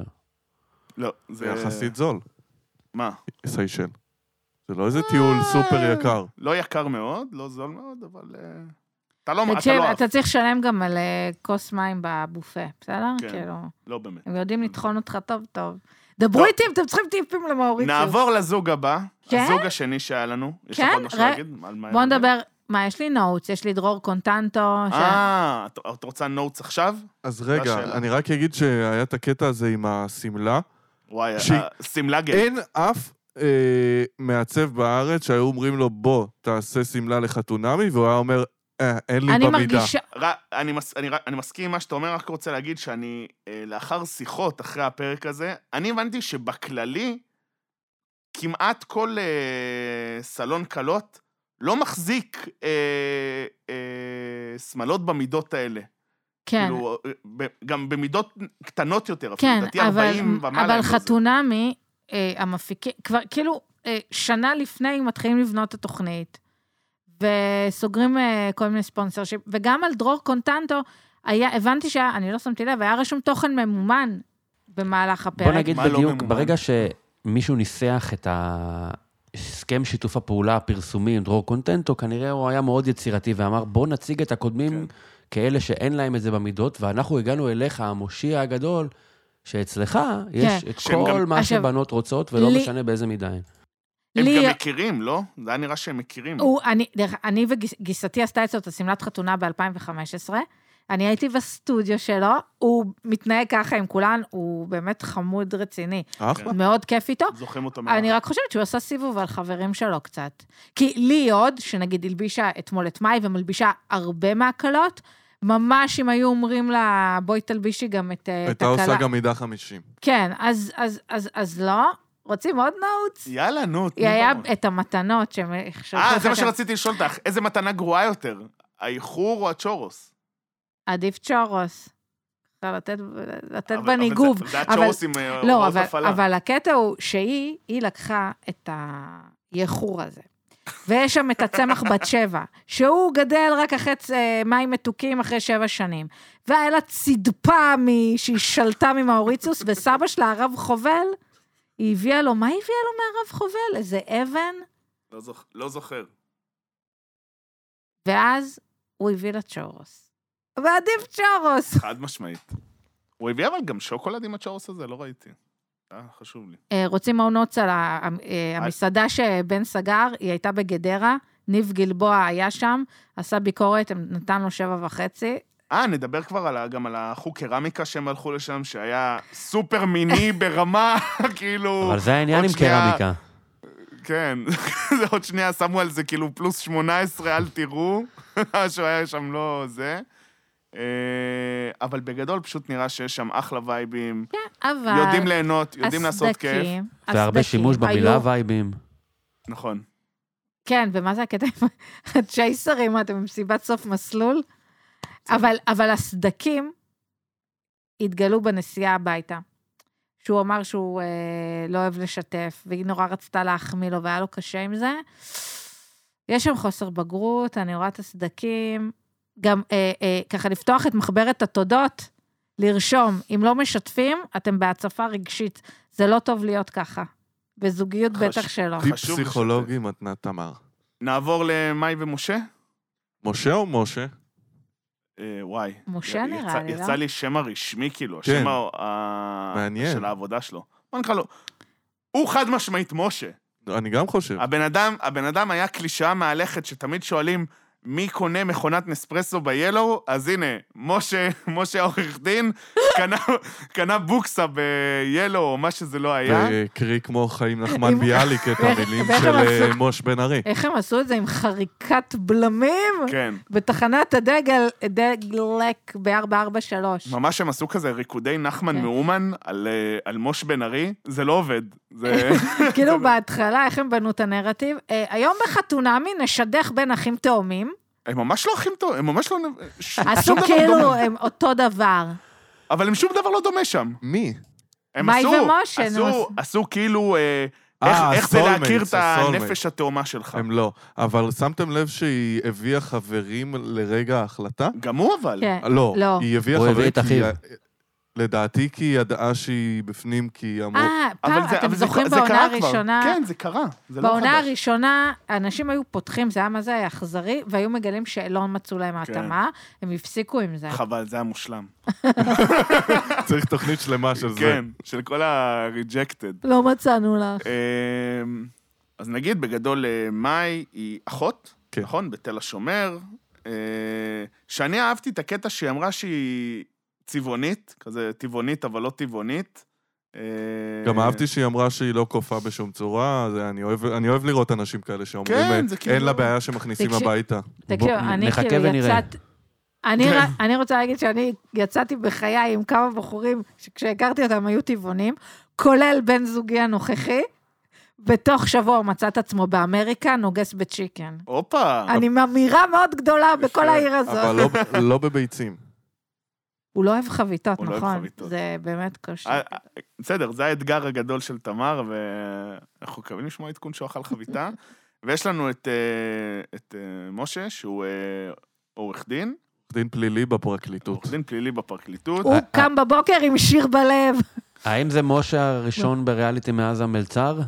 S1: לא,
S3: זה
S1: זה...
S3: יחסית זול,
S1: מה?
S3: סיישל. זה לא
S1: אה.
S3: איזה טיול סופר יקר.
S1: לא יקר מאוד, לא זול מאוד, אבל... אה, אתה לא... אתה
S2: תקשיב,
S1: לא...
S2: כן, אתה צריך לשלם גם על אה, כוס מים בבופה, בסדר?
S1: כן.
S2: כאילו,
S1: לא באמת.
S2: הם יודעים לטחון אותך טוב טוב. דברו
S1: טוב.
S2: איתי אם אתם צריכים טיפים למאוריציוס.
S1: לא. נעבור לזוג הבא,
S2: אוקיי. כן?
S1: הזוג השני שהיה לנו. יש לך
S2: כן?
S1: עוד משהו
S2: ר-
S1: להגיד? על מה
S2: בואו
S1: היה?
S2: נדבר, מה, יש לי נוטס, יש לי דרור קונטנטו, ש-
S1: אה, את- את רוצה נוטס עכשיו?
S3: אז רגע,
S1: השאלה.
S3: אני רק אגיד שהיה את הקטע הזה עם השמלה.
S1: וואי,
S3: שי-
S1: ה- שמלה גט.
S3: אין אף אה, מעצב בארץ שהיו אומרים לו, בוא, תעשה שמלה לחתונמי, והוא היה אומר, אה, אין לי
S2: אני
S3: במידה.
S2: מרגישה...
S1: ר- אני מס- אני ר- אני מסכים עם מה שאתה אומר, רק רוצה להגיד שאני, אה, לאחר שיחות אחרי הפרק הזה, אני הבנתי שבכללי, כמעט כל אה, סלון כלות לא מחזיק אה, אה, שמלות במידות האלה.
S2: כן.
S1: כאילו, אה, ב- גם במידות קטנות יותר, אפילו,
S2: כן,
S1: לדעתי
S2: אבל,
S1: 40 ומעלה.
S2: אבל
S1: הם לא זה.
S2: חתונמי, אה, המפיקים, כבר כאילו אה, שנה לפני מתחילים לבנות את התוכנית, וסוגרים אה, כל מיני ספונסר שיפ, וגם על דרור קונטנטו, היה, הבנתי שהיה, אני לא שמתי לב, היה רשום תוכן ממומן במהלך הפרק.
S5: בוא נגיד
S1: מה לא
S5: בדיוק,
S1: ממומן?
S5: ברגע שמישהו ניסח את הסכם שיתוף הפעולה הפרסומי עם דרור קונטנטו, כנראה הוא היה מאוד יצירתי ואמר, בוא נציג את הקודמים
S1: כן.
S5: כאלה שאין להם את זה במידות, ואנחנו הגענו אליך, המושיע הגדול, שאצלך יש את
S1: שהם
S5: כל
S1: גם-
S5: מה
S2: כן. עכשיו,
S5: שבנות רוצות, ולא
S2: לי-
S5: משנה באיזה מידה הן.
S1: הם
S2: לי-
S1: גם מכירים, לא? זה היה נראה שהם מכירים.
S2: הוא, אני, דרך, אני וגיסתי עשתה אצלו את השמלת חתונה ב-2015. אני הייתי בסטודיו שלו, הוא מתנהג ככה עם כולן, הוא באמת חמוד רציני.
S1: כן.
S3: אחלה.
S2: מאוד כיף איתו.
S1: זוכרים אותו מאוד.
S2: אני רק חושבת שהוא עשה סיבוב על חברים שלו קצת. כי לי עוד, שנגיד הלבישה אתמול את מאי ומלבישה הרבה מהקלות, ממש אם היו אומרים לה, בואי תלבישי גם את אה, את
S3: הייתה
S2: הכלה.
S3: עושה גם מידה 50.
S2: כן, אז, אז, אז, אז לא. רוצים עוד נעוץ?
S1: יאללה, נו. תנו
S2: היה
S1: בראש.
S2: את המתנות שהם...
S1: אה, זה מה שרציתי לשאול אותך. איזה מתנה גרועה יותר? האיחור או הצ'ורוס?
S2: עדיף צ'ורוס. אפשר לתת, לתת
S1: אבל-
S2: בניגוב.
S1: אבל זה- זה
S2: אבל-
S1: הצ'ורוס עם אה,
S2: לא,
S1: הוראות
S2: אבל,
S1: הפעלה.
S2: אבל הקטע הוא שהיא, היא לקחה את היחור הזה. ויש שם את הצמח בת שבע, שהוא גדל רק אחרי צ- אה, מים מתוקים אחרי שבע שנים. והיה לה צידפה מ- שהיא שלטה ממאוריציוס, וסבא שלה, הרב חובל, היא הביאה לו, מה היא הביאה לו מהרב חובל? איזה אבן?
S1: לא זוכ- לא זוכר.
S2: ואז הוא הביא לה צ'ורוס. ועדיף צ'ורוס.
S1: חד משמעית. הוא הביא אבל גם שוקולד עם הצ'ורוס הזה, לא ראיתי. אה, חשוב לי.
S2: אה, רוצים מעונות על ה- המ- אה, המסעדה שבן סגר, היא הייתה בגדרה, ניב גלבוע היה שם, עשה ביקורת, הם- נתן לו שבע וחצי.
S1: אה, נדבר כבר על ה- גם על החוג קרמיקה שהם הלכו לשם, שהיה סופר מיני [LAUGHS] ברמה, כאילו...
S5: אבל זה העניין
S1: עוד
S5: עם
S1: שנייה-
S5: קרמיקה.
S1: כן. [LAUGHS] זה עוד שנייה שמו על זה כאילו פלוס 18, אל תראו. [LAUGHS] משהו היה שם לא זה. אה, אבל בגדול פשוט נראה שיש שם אחלה וייבים.
S2: כן, אבל...
S1: יודעים ליהנות, יודעים לעשות כיף.
S2: הסדקים-
S5: והרבה
S2: הסדקים
S5: שימוש במילה
S2: היו-
S5: וייבים.
S1: נכון.
S2: כן, ומה זה הקטע עם הצ'ייסרים, מה, אתם במסיבת סוף מסלול? אבל, אבל הסדקים התגלו בנסיעה הביתה. שהוא אמר שהוא אה, לא אוהב לשתף, והיא נורא רצתה להחמיא לו, והיה לו קשה עם זה. יש שם חוסר בגרות, אני רואה את הסדקים. גם אה, אה, ככה לפתוח את מחברת התודות, לרשום, אם לא משתפים, אתם בהצפה רגשית. זה לא טוב להיות ככה. בזוגיות
S1: חש-
S2: בטח שלא.
S3: טיפ
S1: חשוב
S3: פסיכולוגי מתנת תמר.
S1: נעבור למאי ומשה?
S3: משה או משה?
S1: אה, וואי.
S2: משה
S1: י-
S2: נראה
S1: יצא-
S2: לי, לא?
S1: יצא לי שם הרשמי, כאילו,
S3: כן.
S1: השם ה- ה-
S3: מעניין.
S1: של העבודה שלו. בוא נקרא לו. הוא חד משמעית משה.
S3: אני גם חושב.
S1: הבן אדם, הבן אדם היה קלישאה מהלכת שתמיד שואלים מי קונה מכונת נספרסו ב-Yellow, אז הנה, משה, [LAUGHS] משה העורך
S2: [LAUGHS]
S1: דין, קנה, קנה בוקסה ב-Yellow, או מה שזה לא היה.
S3: קרי כמו חיים נחמן
S2: אם-
S3: ביאליק את המילים
S2: ואיך
S3: של
S2: הם עשו-
S3: אה, מוש בן ארי.
S2: איך הם עשו את זה עם חריקת בלמים?
S1: כן.
S2: בתחנת הדגל, דגלק ב-443.
S1: ממש הם עשו כזה ריקודי נחמן
S2: כן.
S1: מאומן על, אה, על מוש בן ארי, זה לא עובד.
S2: [LAUGHS]
S1: זה...
S2: כאילו בהתחלה, איך הם בנו את הנרטיב? אה, היום בחתונמי נשדך בין אחים
S1: [LAUGHS]
S2: תאומים.
S1: הם ממש לא אחים טוב, הם ממש לא... ש-
S2: עשו
S1: שום דבר לא
S2: כאילו
S1: דומה.
S2: הם אותו דבר.
S1: אבל הם שום דבר לא דומה שם.
S3: מי?
S1: הם
S2: מאי
S1: עשו,
S2: ומשה, נו,
S1: עשו,
S2: אז-
S1: עשו כאילו אה, איך-
S3: אה,
S1: איך זה להכיר
S3: הסולמייטס,
S1: את
S3: הסולמייטס.
S1: הנפש התאומה שלך?
S3: הם לא. אבל שמתם לב שהיא הביאה חברים לרגע ההחלטה?
S1: גם הוא אבל.
S2: כן.
S3: לא.
S2: לא.
S3: היא הביאה
S5: הוא
S3: חברים
S5: הביא את
S3: כי היא-
S5: אחיו.
S3: לדעתי כי היא ידעה שהיא בפנים, כי היא אמרו...
S2: אה, פעם,
S1: זה-
S2: אתם
S1: זה-
S2: זוכרים
S1: זה
S2: בעונה
S1: קרה כבר.
S2: הראשונה...
S1: כן, זה קרה. זה לא
S2: בעונה
S1: חדש.
S2: הראשונה, אנשים היו פותחים, זה היה מה זה היה אכזרי, והיו מגלים שלא מצאו להם ההתאמה, הם הפסיקו עם זה.
S1: כן. חבל, זה היה מושלם.
S3: צריך תוכנית שלמה של זה.
S1: כן, של כל ה-rejected.
S2: לא מצאנו לך.
S1: אמ, אז נגיד, בגדול, אה, מאי היא אחות,
S3: כן.
S1: נכון? בתל השומר. אה, שאני אהבתי את הקטע שהיא אמרה שהיא צבעונית, כזה טבעונית, אבל לא טבעונית. אה,
S3: גם אהבתי שהיא אמרה שהיא לא כופה בשום צורה, זה- אני אוהב- אני אוהב לראות אנשים כאלה שאומרים,
S1: כן,
S3: "אין-
S1: זה כאילו-
S3: אין לה בעיה שמכניסים
S2: תקשיב-
S3: הביתה.
S2: תקשיב,
S5: בוא,
S2: אני
S5: נחכה
S2: כאילו
S5: ונראה.
S2: יצאת... אני, ר... אני רוצה להגיד שאני יצאתי בחיי עם כמה בחורים שכשהכרתי אותם היו טבעונים, כולל בן זוגי הנוכחי, בתוך שבוע הוא מצא את עצמו באמריקה, נוגס בצ'יקן.
S1: הופה.
S2: אני מאמירה מאוד גדולה בכל העיר
S3: אבל
S2: הזאת.
S3: לא- לא בביצים.
S2: הוא לא אוהב חביתות,
S1: הוא לא אוהב
S2: נכון?
S1: חביתות.
S2: זה באמת קושי.
S1: אה,
S3: אוקיי.
S1: אה, בסדר, זה האתגר הגדול של תמר, ואנחנו מקווים לשמוע עדכון שהוא אכל
S3: [LAUGHS]
S1: חביתה. ויש לנו את, אה, את אה, משה, שהוא אה, עורך דין,
S3: דין פלילי בפרקליטות.
S1: עורך דין פלילי בפרקליטות.
S2: הוא קם בבוקר עם שיר בלב.
S5: האם זה משה הראשון בריאליטי מאז המלצר?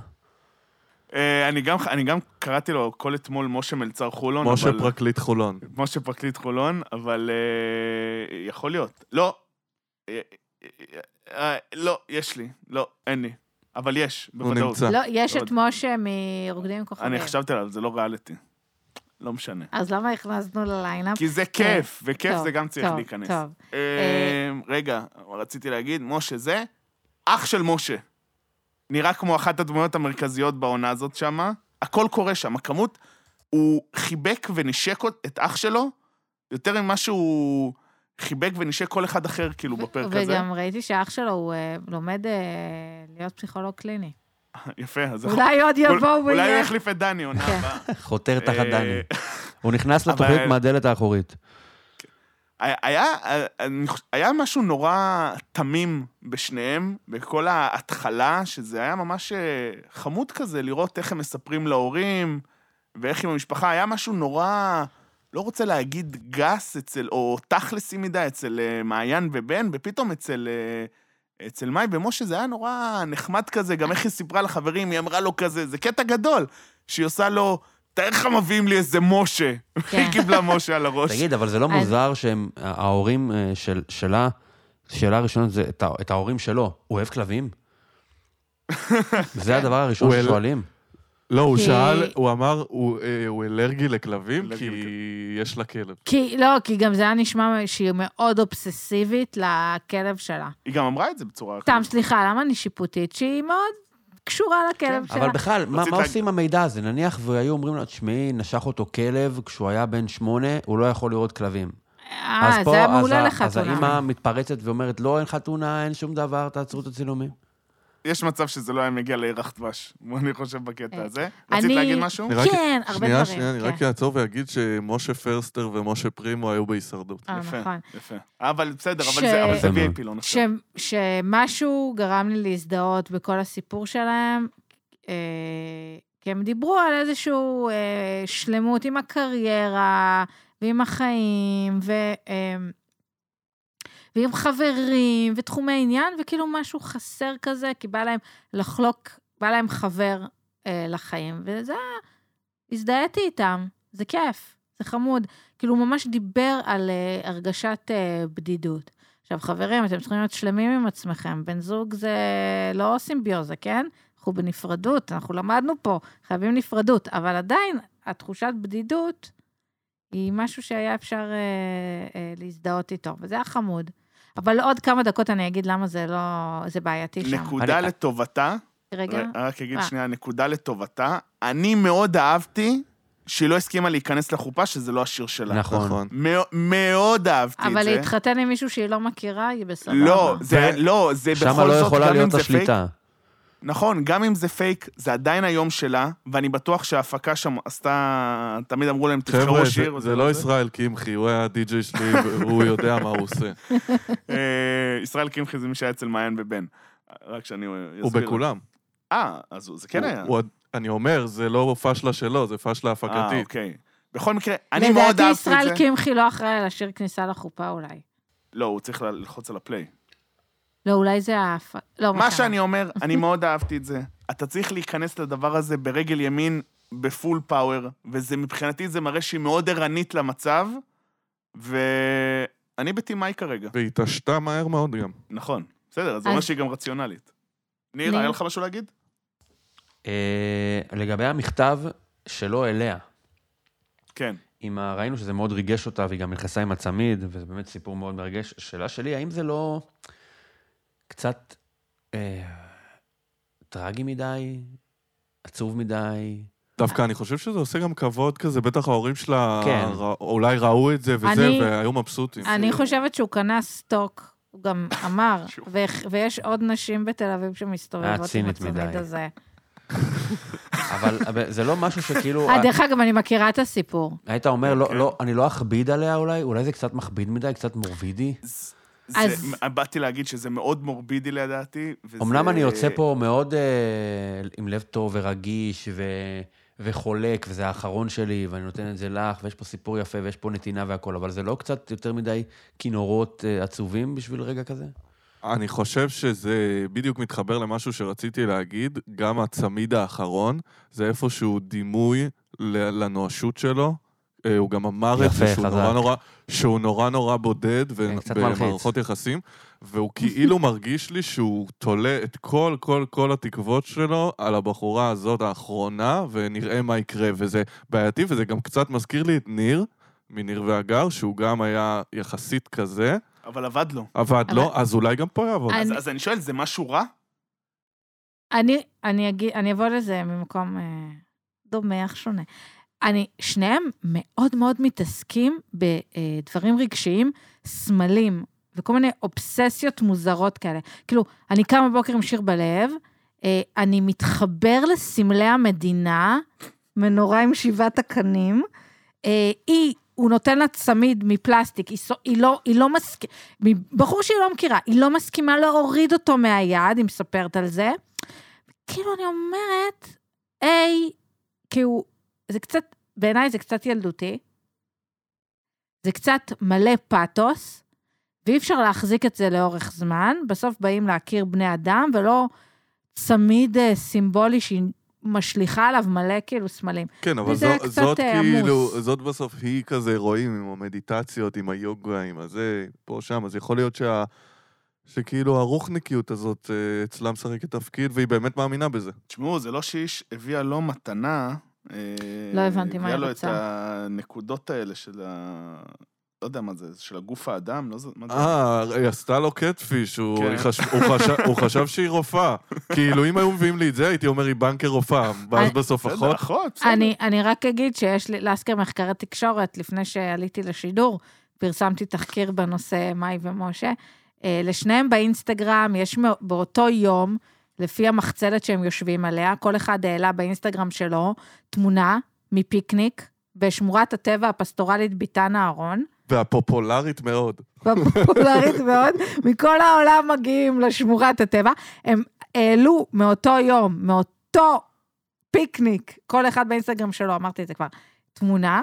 S1: אה, אני גם, אני גם קראתי לו כל אתמול משה מלצר חולון,
S3: משה
S1: אבל...
S3: פרקליט חולון.
S1: משה פרקליט חולון, אבל אה, יכול להיות. לא. אה, אה, אה, לא, יש לי. לא, אין לי. אבל יש,
S3: הוא
S1: בוודאות.
S3: נמצא. כן.
S2: לא, יש את
S1: עוד.
S2: משה מרוקדים עם כוכבים.
S1: אה, אני חשבתי עליו, זה לא ריאליטי. לא משנה.
S2: אז למה הכנסנו לליינאפ?
S1: כי זה כיף, וכיף
S2: כן. טוב,
S1: זה גם צריך
S2: טוב,
S1: להיכנס.
S2: טוב.
S1: אה, רגע, אבל רציתי להגיד, משה זה אח של משה. נראה כמו אחת הדמויות המרכזיות בעונה הזאת שמה. הכל קורה שם, הכמות, הוא חיבק ונשק את אח שלו יותר ממה שהוא חיבק ונשק כל אחד אחר, כאילו, בפרק הזה. [LAUGHS]
S2: וגם ראיתי שאח שלו הוא אה, לומד אה, להיות פסיכולוג קליני.
S1: יפה, אז
S5: נכון.
S1: יכול-
S2: אולי עוד יבואו
S1: אולי הוא
S2: בעניין.
S1: יחליף את דני עונה
S2: כן.
S1: הבאה.
S5: חותר תחת דני.
S1: אה,
S5: הוא נכנס
S1: אבל-
S5: לתוכנית מהדלת האחורית.
S1: היה, אני חוש- היה משהו נורא תמים בשניהם, בכל ההתחלה, שזה היה ממש אה, חמוד כזה, לראות איך הם מספרים להורים, ואיך עם המשפחה, היה משהו נורא, לא רוצה להגיד גס אצל, או תכלסי מדי אצל אה, מעיין ובן, ופתאום אצל... אה, אצל מאי ומשה זה היה נורא נחמד כזה, גם איך היא סיפרה לחברים, היא אמרה לו כזה, זה קטע גדול, שהיא עושה לו, תאר לך מביאים לי איזה משה.
S2: כן.
S1: היא קיבלה משה על הראש.
S5: תגיד, אבל זה לא
S2: אז-
S5: מוזר שהם, ההורים אה, של- שלה, שאלה ראשונה זה את ה- את ההורים שלו, הוא אוהב כלבים?
S2: כן.
S5: זה הדבר הראשון
S3: הוא אל-
S5: ששואלים.
S3: לא, הוא
S2: כי-
S3: שאל, הוא אמר, הוא אה, הוא אלרגי לכלבים,
S1: אלרגי
S3: כי יש לה כלב.
S2: כי, לא, כי גם זה היה נשמע שהיא מאוד אובססיבית לכלב שלה.
S5: נכון.
S1: היא גם אמרה את זה בצורה
S2: סתם, סליחה, למה אני שיפוטית? שהיא מאוד קשורה לכלב שלה.
S5: כן. אבל בכלל, מה
S1: רצית
S5: מה
S1: להגיד-
S5: עושים עם המידע הזה? נניח והיו אומרים לה, תשמעי, נשך אותו כלב כשהוא היה בן שמונה, הוא לא יכול לראות כלבים. אז
S2: אה,
S5: פה-
S2: זה היה
S5: אז ה-
S2: מעולה
S5: אז
S2: לחתונה.
S5: האמא מתפרצת ואומרת, לא, אין חתונה, אין שום דבר, תעצרו את הצילומים.
S1: יש מצב שזה לא היה מגיע לירח [LAUGHS] דבש, אני חושב בקטע
S2: אה,
S1: הזה.
S2: אני-
S1: רצית להגיד משהו?
S3: אני רק-
S2: כן, הרבה
S3: שנייה,
S2: דברים,
S3: שנייה, אני רק
S2: כן.
S3: אעצור ואגיד שמשה פרסטר ומשה פרימו היו בהישרדות.
S2: אה,
S1: יפה,
S2: נכון.
S1: יפה. אבל בסדר, אבל
S2: ש-
S1: זה- אבל זה
S5: יפה מאוד.
S1: VIP לא נחשב.
S2: ש- שמשהו גרם לי להזדהות בכל הסיפור שלהם, אה, כי הם דיברו על איזושהי אה, שלמות עם הקריירה ועם החיים ו, אה, ועם חברים ותחומי עניין, וכאילו משהו חסר כזה, כי בא להם לחלוק, בא להם חבר אה, לחיים, וזה היה, הזדהיתי איתם, זה כיף, זה חמוד. כאילו, הוא ממש דיבר על אה, הרגשת אה, בדידות. עכשיו, חברים, אתם צריכים להיות שלמים עם עצמכם. בן זוג זה לא סימביוזה, כן? אנחנו בנפרדות, אנחנו למדנו פה, חייבים נפרדות, אבל עדיין, התחושת בדידות היא משהו שהיה אפשר אה, אה, להזדהות איתו, וזה היה חמוד. אבל עוד כמה דקות אני אגיד למה זה לא... זה בעייתי שם.
S1: נקודה
S5: אני-
S1: לטובתה,
S2: רגע.
S1: רק אגיד
S2: אה.
S1: שנייה, נקודה לטובתה. אני מאוד אהבתי שהיא לא הסכימה להיכנס לחופה, שזה לא השיר שלה.
S5: נכון.
S1: מאו- מאוד אהבתי את
S2: אבל
S1: זה.
S2: להתחתן עם מישהו שהיא לא מכירה, היא בסבבה.
S1: לא, זה
S5: ו-
S1: לא, זה בכל זאת,
S5: שמה לא יכולה
S1: גם אם
S5: להיות
S1: זה פייק,
S5: השליטה.
S1: נכון, גם אם זה פייק, זה עדיין היום שלה, ואני בטוח שההפקה שם עשתה, תמיד אמרו להם,
S3: חבר'ה,
S1: תבחרו
S3: זה-
S1: שיר. אה,
S3: זה לא ישראל קמחי, הוא היה
S1: [LAUGHS]
S3: הדי-ג'יי שלי, והוא יודע מה הוא עושה.
S1: אה, ישראל קמחי זה מי שהיה אצל מעיין ובן. רק שאני אסביר.
S3: הוא בכולם.
S1: אה, אז הוא- זה כן היה.
S3: הוא- אני אומר, זה לא פשלה שלו, זה פשלה
S1: אה,
S3: הפקתית.
S1: אוקיי. בכל מקרה, אני מאוד אהבתי את זה.
S2: לדעתי ישראל קמחי לא אחראי על השיר כניסה לחופה אולי.
S1: לא, הוא צריך ללחוץ על הפליי.
S2: לא, אולי זה ההפ... לא,
S1: מה שאני אומר, אני מאוד אהבתי את זה. אתה צריך להיכנס לדבר הזה ברגל ימין, בפול פאוור, וזה מבחינתי זה מראה שהיא מאוד ערנית למצב, ואני בטימאי כרגע.
S3: והיא התעשתה מהר מאוד גם.
S1: נכון, בסדר, אז זה אומר
S2: אז-
S1: שהיא גם רציונלית. ניר,
S2: ניר.
S1: היה לך משהו להגיד?
S5: אה, לגבי המכתב שלו אליה,
S1: כן.
S5: עם ה... ראינו שזה מאוד ריגש אותה, והיא גם נכנסה עם הצמיד, וזה באמת סיפור מאוד מרגש. השאלה שלי, האם זה לא קצת אה, טרגי מדי, עצוב מדי?
S3: דווקא אני חושב שזה עושה גם כבוד כזה, בטח ההורים שלה
S5: כן.
S3: רא- אולי ראו את זה וזה,
S2: אני-
S3: והיו מבסוטים.
S2: אני חושבת שהוא קנה סטוק, הוא
S1: [LAUGHS]
S2: גם אמר,
S1: שוב.
S2: ו- ויש עוד נשים בתל אביב שמסתובבות עם
S5: צינית
S2: הצמיד
S5: מדי.
S2: הזה.
S5: אבל [LAUGHS] אבל זה לא משהו שכאילו...
S2: אה, דרך אגב, אני מכירה את הסיפור.
S5: היית אומר, לא,
S1: כן.
S5: לא, אני לא אכביד עליה אולי? אולי זה קצת מכביד מדי, קצת מורבידי?
S1: אז...
S2: אז-
S1: באתי להגיד שזה מאוד מורבידי לדעתי, וזה...
S5: אמנם אני יוצא פה מאוד אה, עם לב טוב ורגיש ו... וחולק, וזה האחרון שלי, ואני נותן את זה לך, ויש פה סיפור יפה, ויש פה נתינה והכול, אבל זה לא קצת יותר מדי כינורות אה, עצובים בשביל רגע כזה?
S3: אני חושב שזה בדיוק מתחבר למשהו שרציתי להגיד, גם הצמיד האחרון, זה איפשהו דימוי ל- לנואשות שלו. אה, הוא גם אמר את זה
S5: יפה,
S3: שהוא
S5: חזק.
S3: נורא נורא, שהוא נורא נורא בודד ו-
S5: כן, קצת מלחיץ.
S3: במערכות יחסים, והוא כאילו [LAUGHS] מרגיש לי שהוא תולה את כל כל כל התקוות שלו על הבחורה הזאת האחרונה, ונראה מה יקרה, וזה בעייתי, וזה גם קצת מזכיר לי את ניר, מניר והגר, שהוא גם היה יחסית כזה,
S1: אבל עבד לו.
S3: עבד
S2: אבל-
S3: לו, אז אולי גם פה יעבוד.
S1: אז
S2: אני-
S1: אז אני שואל, זה משהו רע?
S2: אני, אני, אגיד, אני אבוא לזה ממקום אה, דומה, אך שונה. אני, שניהם מאוד מאוד מתעסקים בדברים רגשיים, סמלים, וכל מיני אובססיות מוזרות כאלה. כאילו, אני קם בבוקר עם שיר בלב, אה, אני מתחבר לסמלי המדינה, מנורה עם שבעת הקנים, אה, היא, הוא נותן לה צמיד מפלסטיק, היא, סו- היא לא, היא לא מסכימה, בחור שהיא לא מכירה, היא לא מסכימה להוריד אותו מהיד, היא מספרת על זה. כאילו, אני אומרת, היי, כאילו, זה קצת, בעיניי זה קצת ילדותי, זה קצת מלא פאתוס, ואי אפשר להחזיק את זה לאורך זמן. בסוף באים להכיר בני אדם, ולא צמיד אה, סימבולי שהיא משליכה עליו מלא כאילו סמלים.
S3: כן, אבל
S2: וזה
S3: זו,
S2: היה קצת,
S3: זאת
S2: אה,
S3: כאילו,
S2: עמוס.
S3: זאת בסוף היא כזה, רואים עם המדיטציות, עם היוגה, עם הזה, פה, שם, אז יכול להיות שה... שכאילו הרוחניקיות הזאת אה, אצלה משחקת תפקיד, והיא באמת מאמינה בזה.
S1: תשמעו, זה לא שאיש הביאה לו מתנה. אה,
S2: לא הבנתי מה היא
S1: הביאה לו
S2: רוצה.
S1: את הנקודות האלה של ה... לא יודע מה זה, של הגוף האדם, לא זה... מה זה?
S3: אה, היא עשתה לו קטפיש, הוא,
S1: כן.
S3: היא חש- הוא, חשב- [LAUGHS] הוא חשב שהיא רופאה. כאילו, אם היו מביאים לי את זה, הייתי אומר, היא בנקר רופאה, ואז
S2: אני-
S3: בסוף
S1: בסדר,
S3: אחות.
S1: אחות, בסדר.
S2: אני, אני רק אגיד שיש לי, להזכיר מחקרי תקשורת, לפני שעליתי לשידור, פרסמתי תחקיר בנושא מאי ומשה. אה, לשניהם באינסטגרם, יש מא- באותו יום, לפי המחצלת שהם יושבים עליה, כל אחד העלה באינסטגרם שלו תמונה מפיקניק בשמורת הטבע הפסטורלית ביתן אהרון.
S3: והפופולרית מאוד.
S2: פופולרית מאוד, מכל העולם מגיעים לשמורת הטבע. הם העלו מאותו יום, מאותו פיקניק, כל אחד באינסטגרם שלו, אמרתי את זה כבר, תמונה,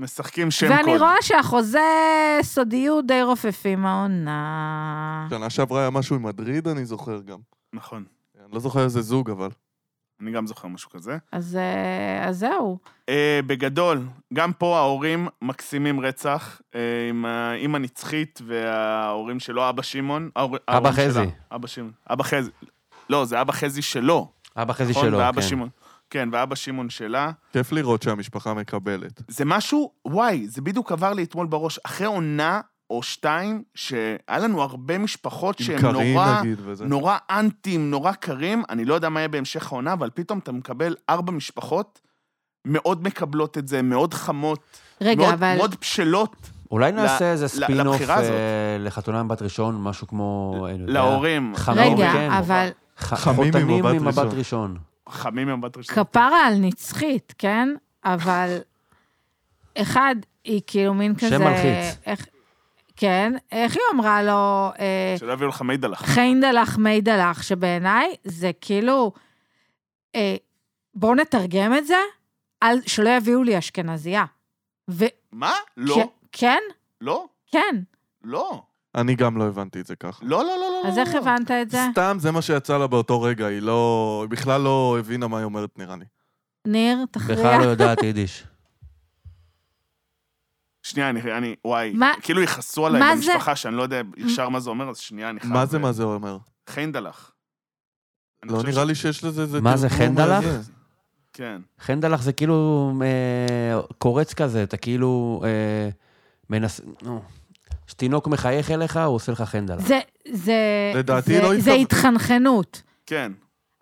S1: משחקים שם קוד.
S2: ואני רואה שהחוזה סודיות די רופפים העונה.
S1: כן.
S3: שנה שעברה היה משהו עם מדריד, אני זוכר גם.
S1: נכון,
S3: אני לא זוכר איזה זוג, אבל.
S1: אני גם זוכר משהו כזה.
S2: אז אה, אז זהו.
S1: אה, בגדול, גם פה ההורים מקסימים רצח, אה, עם האימא נצחית וההורים שלו, אבא שמעון. ההור- ההורים
S5: חזי.
S1: שלה, אבא שמעון. אבא חזי. לא, זה אבא חזי שלו.
S5: אבא חזי
S1: נכון?
S5: שלו,
S1: ואבא
S5: כן.
S1: שמעון. כן, ואבא שמעון שלה.
S3: כיף לראות שהמשפחה מקבלת.
S1: זה משהו, וואי, זה בדיוק עבר לי אתמול בראש. אחרי עונה או שתיים, שהיה לנו הרבה משפחות
S3: עם
S1: שהן
S3: קרין,
S1: נורא...
S3: נגיד, וזה.
S1: נורא אנטים, נורא קרים, אני לא יודע מה יהיה בהמשך העונה, אבל פתאום אתה מקבל ארבע משפחות מאוד מקבלות את זה, מאוד חמות,
S2: רגע,
S1: מאוד,
S2: אבל...
S1: מאוד בשלות
S5: אולי נעשה איזה ספין-אוף
S1: לבחירה הזאת.
S5: אה, לחתונה עם בת ראשון, משהו כמו... אה, אני יודע,
S1: להורים.
S5: חמים,
S2: רגע,
S5: כן.
S2: אבל
S5: ח-
S3: חמים עם
S5: חותנים
S3: הבת
S5: עם
S3: ראשון.
S5: הבת ראשון.
S1: חמים עם הבת ראשונה.
S2: כפרה על נצחית, כן? אבל אחד, היא כאילו מין
S5: שם
S2: כזה...
S5: מלחיץ.
S2: איך... כן, איך היא אמרה לו? אה,
S1: שלא יביאו לך מידלח.
S2: חיינדלח מיידלח, שבעיניי זה כאילו, אה, בואו נתרגם את זה, על, שלא יביאו לי אשכנזייה. ו...
S1: מה?
S2: כן-
S1: לא,
S2: כן,
S1: לא,
S2: כן.
S1: לא.
S3: אני גם לא הבנתי את זה ככה.
S1: לא, לא, לא, לא.
S2: אז
S1: לא,
S2: איך
S1: לא.
S2: הבנת את זה?
S3: סתם זה מה שיצא לה באותו רגע, היא לא... היא בכלל לא הבינה מה היא אומרת, נראה לי.
S2: ניר, תכריע.
S5: בכלל לא יודעת יידיש.
S1: שנייה, אני, אני, וואי.
S2: מה-
S1: כאילו יכעסו עליי
S2: מה זה-
S1: במשפחה, שאני לא יודע ישר מה זה אומר, אז שנייה, אני חייב...
S3: מה זה מה זה אומר?
S1: חיינדלח. אני
S3: לא
S1: חושב
S3: נראה
S1: ש-
S3: לי שיש לזה איזה...
S5: מה זה,
S3: תרגום
S5: חנדלח?
S3: מעניין.
S1: כן.
S5: חנדלח זה כאילו אה, קורץ כזה, אתה כאילו אה, מנס... נו. כשתינוק מחייך אליך, הוא עושה לך חנדלח.
S2: זה, זה,
S3: לדעתי
S2: זה,
S3: לא
S2: זה
S3: התכו-
S2: התחנכנות.
S1: כן.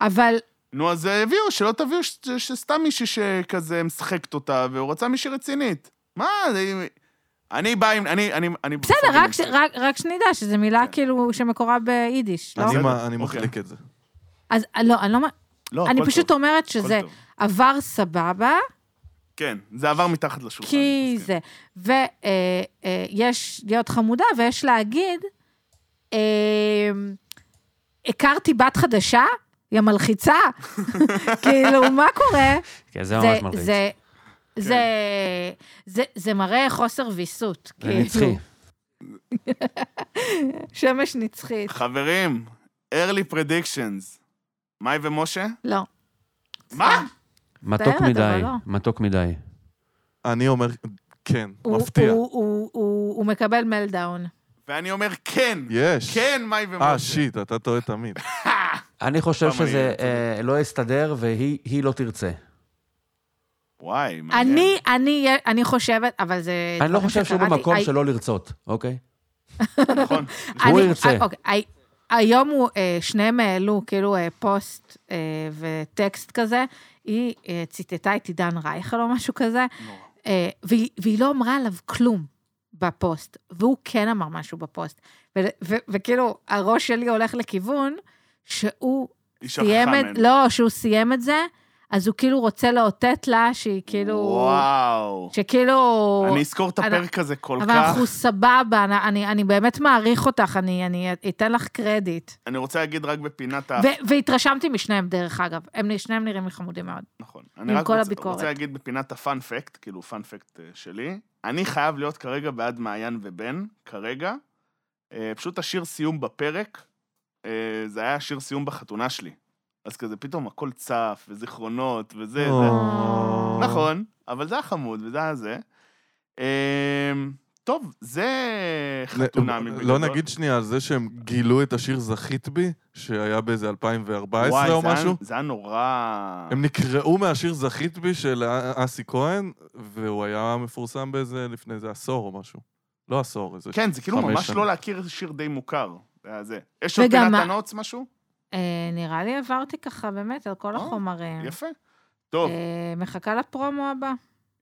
S2: אבל
S1: נו, אז הביאו, שלא תביאו ש- שסתם מישהי שכזה משחקת אותה, והוא רצה מישהי רצינית. מה, זה... אני בא עם... אני... אני... אני
S2: בסדר,
S1: בסוף אני
S2: רק, ש, רק, רק שנדע שזו
S1: כן.
S2: מילה כאילו שמקורה ביידיש, לא?
S3: אני
S1: בסדר,
S3: מה-
S1: אוקיי.
S3: אני מחליק את זה.
S2: אז לא, אני לא... מ-
S1: לא,
S2: אני
S1: הכל
S2: פשוט
S1: טוב,
S2: אומרת
S1: הכל
S2: שזה
S1: טוב.
S2: עבר סבבה,
S1: כן, זה עבר מתחת לשולחן.
S2: כי
S1: מסכים.
S2: זה. אה, ויש להיות חמודה, ויש להגיד, אה, הכרתי בת חדשה, היא המלחיצה. [LAUGHS] כאילו, מה קורה?
S5: כן, זה
S2: זה-
S5: ממש מלחיץ. כן.
S2: זה- זה, זה, זה מראה חוסר ויסות. כאילו.
S5: זה נצחי.
S2: שמש נצחית.
S1: חברים, early predictions. מאי ומשה?
S2: לא. אה.
S1: מה?
S5: מתוק
S2: אבל
S5: מדי,
S2: לא.
S5: מתוק מדי.
S3: אני אומר, כן,
S2: הוא-
S3: מפתיע.
S2: הוא- הוא- הוא הוא מקבל מלדאון.
S1: ואני אומר כן.
S3: יש.
S1: כן, מאי ומשה.
S3: אה, שיט, אתה טועה תמיד.
S5: אני חושב
S1: פעם אני
S5: שזה
S1: צודק.
S5: אה, לא יסתדר והיא היא לא תרצה.
S1: וואי, מעניין.
S2: אני, אני, אני חושבת, אבל זה...
S5: אני לא
S2: דברים
S5: חושב שהוא
S2: שקראתי.
S5: במקום
S2: הי-
S5: שלא לרצות, אוקיי?
S2: [LAUGHS]
S1: נכון.
S5: שהוא
S2: אני-
S5: ירצה.
S2: אה, אוקיי, הי- היום הוא, אה, שניהם העלו כאילו אה, פוסט אה, וטקסט כזה, היא אה, ציטטה את עידן רייכל או משהו כזה,
S1: נורא.
S2: אה, והיא, והיא לא אמרה עליו כלום בפוסט, והוא כן אמר משהו בפוסט. ו, ו, וכאילו, הראש שלי הולך לכיוון שהוא
S1: היא שכחה
S2: סיים את,
S1: ממנו.
S2: לא, שהוא סיים את זה, אז הוא כאילו רוצה לאותת לה שהיא כאילו,
S1: וואו.
S2: שכאילו...
S1: אני אזכור את
S2: אני-
S1: הפרק הזה כל
S2: אבל
S1: כך.
S2: אנחנו סבבה, אני, אני, אני באמת מעריך אותך, אני, אני אתן לך קרדיט.
S1: אני רוצה להגיד רק בפינת ה...
S2: ו- והתרשמתי משניהם, דרך אגב. הם נ- שניהם נראים לי חמודים מאוד.
S1: נכון. אני
S2: עם
S1: רק
S2: כל
S1: רוצה-
S2: הביקורת.
S1: רוצה להגיד בפינת הפאנפקט, כאילו פאנפקט אה, שלי. אני חייב להיות כרגע בעד מעיין ובן, כרגע. אה, פשוט השיר סיום בפרק, אה, זה היה השיר סיום בחתונה שלי. אז כזה פתאום הכל צף, וזיכרונות, וזה, זה.
S5: אה.
S3: או.
S1: נכון, אבל זה היה חמוד, וזה היה זה. אמ, טוב, זה חתונה מבגדול.
S3: לא נגיד שנייה על זה שהם גילו את השיר זכית בי, שהיה באיזה 2014
S1: וואי,
S3: או
S1: זה היה-
S3: משהו?
S1: זה היה נורא...
S3: הם נקרעו מהשיר זכית בי של א- אסי כהן, והוא היה מפורסם באיזה, לפני איזה עשור או משהו. לא עשור, איזה...
S1: כן, זה כאילו
S3: חמש
S1: ממש
S3: שנים.
S1: לא להכיר שיר די מוכר. זה היה זה. יש עוד
S2: וגם
S1: פינת
S2: ה-
S1: הנוץ משהו?
S2: אה, נראה לי עברתי ככה באמת על כל
S1: אה,
S2: החומרים.
S1: יפה. טוב,
S2: כן. אה, מחכה לפרומו הבא.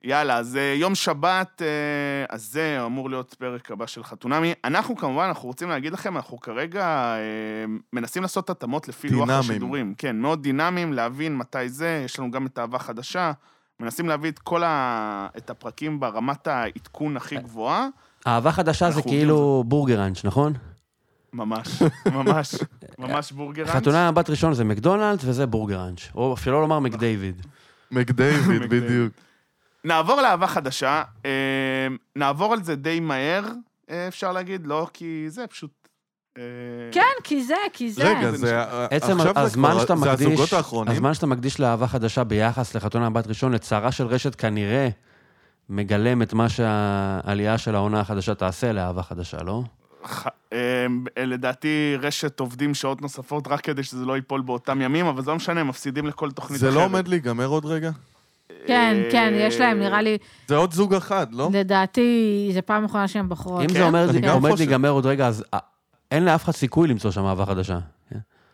S1: יאללה, אז אה, יום שבת, אה, אז זה אמור להיות פרק הבא של חתונמי. אנחנו כמובן, אנחנו רוצים להגיד לכם, אנחנו כרגע אה, מנסים לעשות התאמות לפי לוח
S3: דינמיים.
S1: השידורים. כן, מאוד דינמיים, להבין מתי זה, יש לנו גם את אהבה חדשה. מנסים להביא את כל ה... את הפרקים ברמת העדכון הכי גבוהה.
S5: אהבה חדשה זה
S1: אנחנו עובדים על
S5: כאילו בורגראנץ', נכון?
S1: ממש,
S2: [LAUGHS]
S1: ממש, ממש בורגראנץ'.
S5: חתונה בת ראשון זה מקדונלדס וזה בורגראנץ'. או שלא לומר מקדייוויד.
S3: מקדייוויד,
S1: מקדייוויד.
S3: בדיוק.
S1: נעבור לאהבה חדשה. אה, נעבור על זה די מהר, אה, אפשר להגיד, לא כי זה פשוט... אה,
S2: כן, כי זה, כי זה.
S3: רגע, זה...
S5: עצם
S3: עכשיו זה
S5: הזמן
S3: כבר-
S5: שאתה מקדיש...
S3: זה הזוגות האחרונים?
S5: הזמן שאתה מקדיש לאהבה חדשה ביחס לחתונה בת ראשון, לצרה של רשת כנראה מגלם את מה שהעלייה של העונה החדשה תעשה לאהבה חדשה, לא?
S1: ח- אמ, לדעתי, רשת עובדים שעות נוספות רק כדי שזה לא ייפול באותם ימים, אבל זה לא משנה, הם מפסידים לכל תוכנית
S3: זה
S1: אחרת.
S3: לא עומד להיגמר עוד רגע?
S2: כן,
S1: אה,
S2: כן, יש להם, נראה לי,
S3: זה עוד זוג אחד, לא?
S2: לדעתי, זו פעם אחרונה שהם בחרו.
S5: אם
S1: כן,
S5: זה אומר-
S3: אני גם
S5: עומד
S3: חושב.
S5: להיגמר עוד רגע, אז אה, אין לאף אחד סיכוי למצוא שם אהבה חדשה.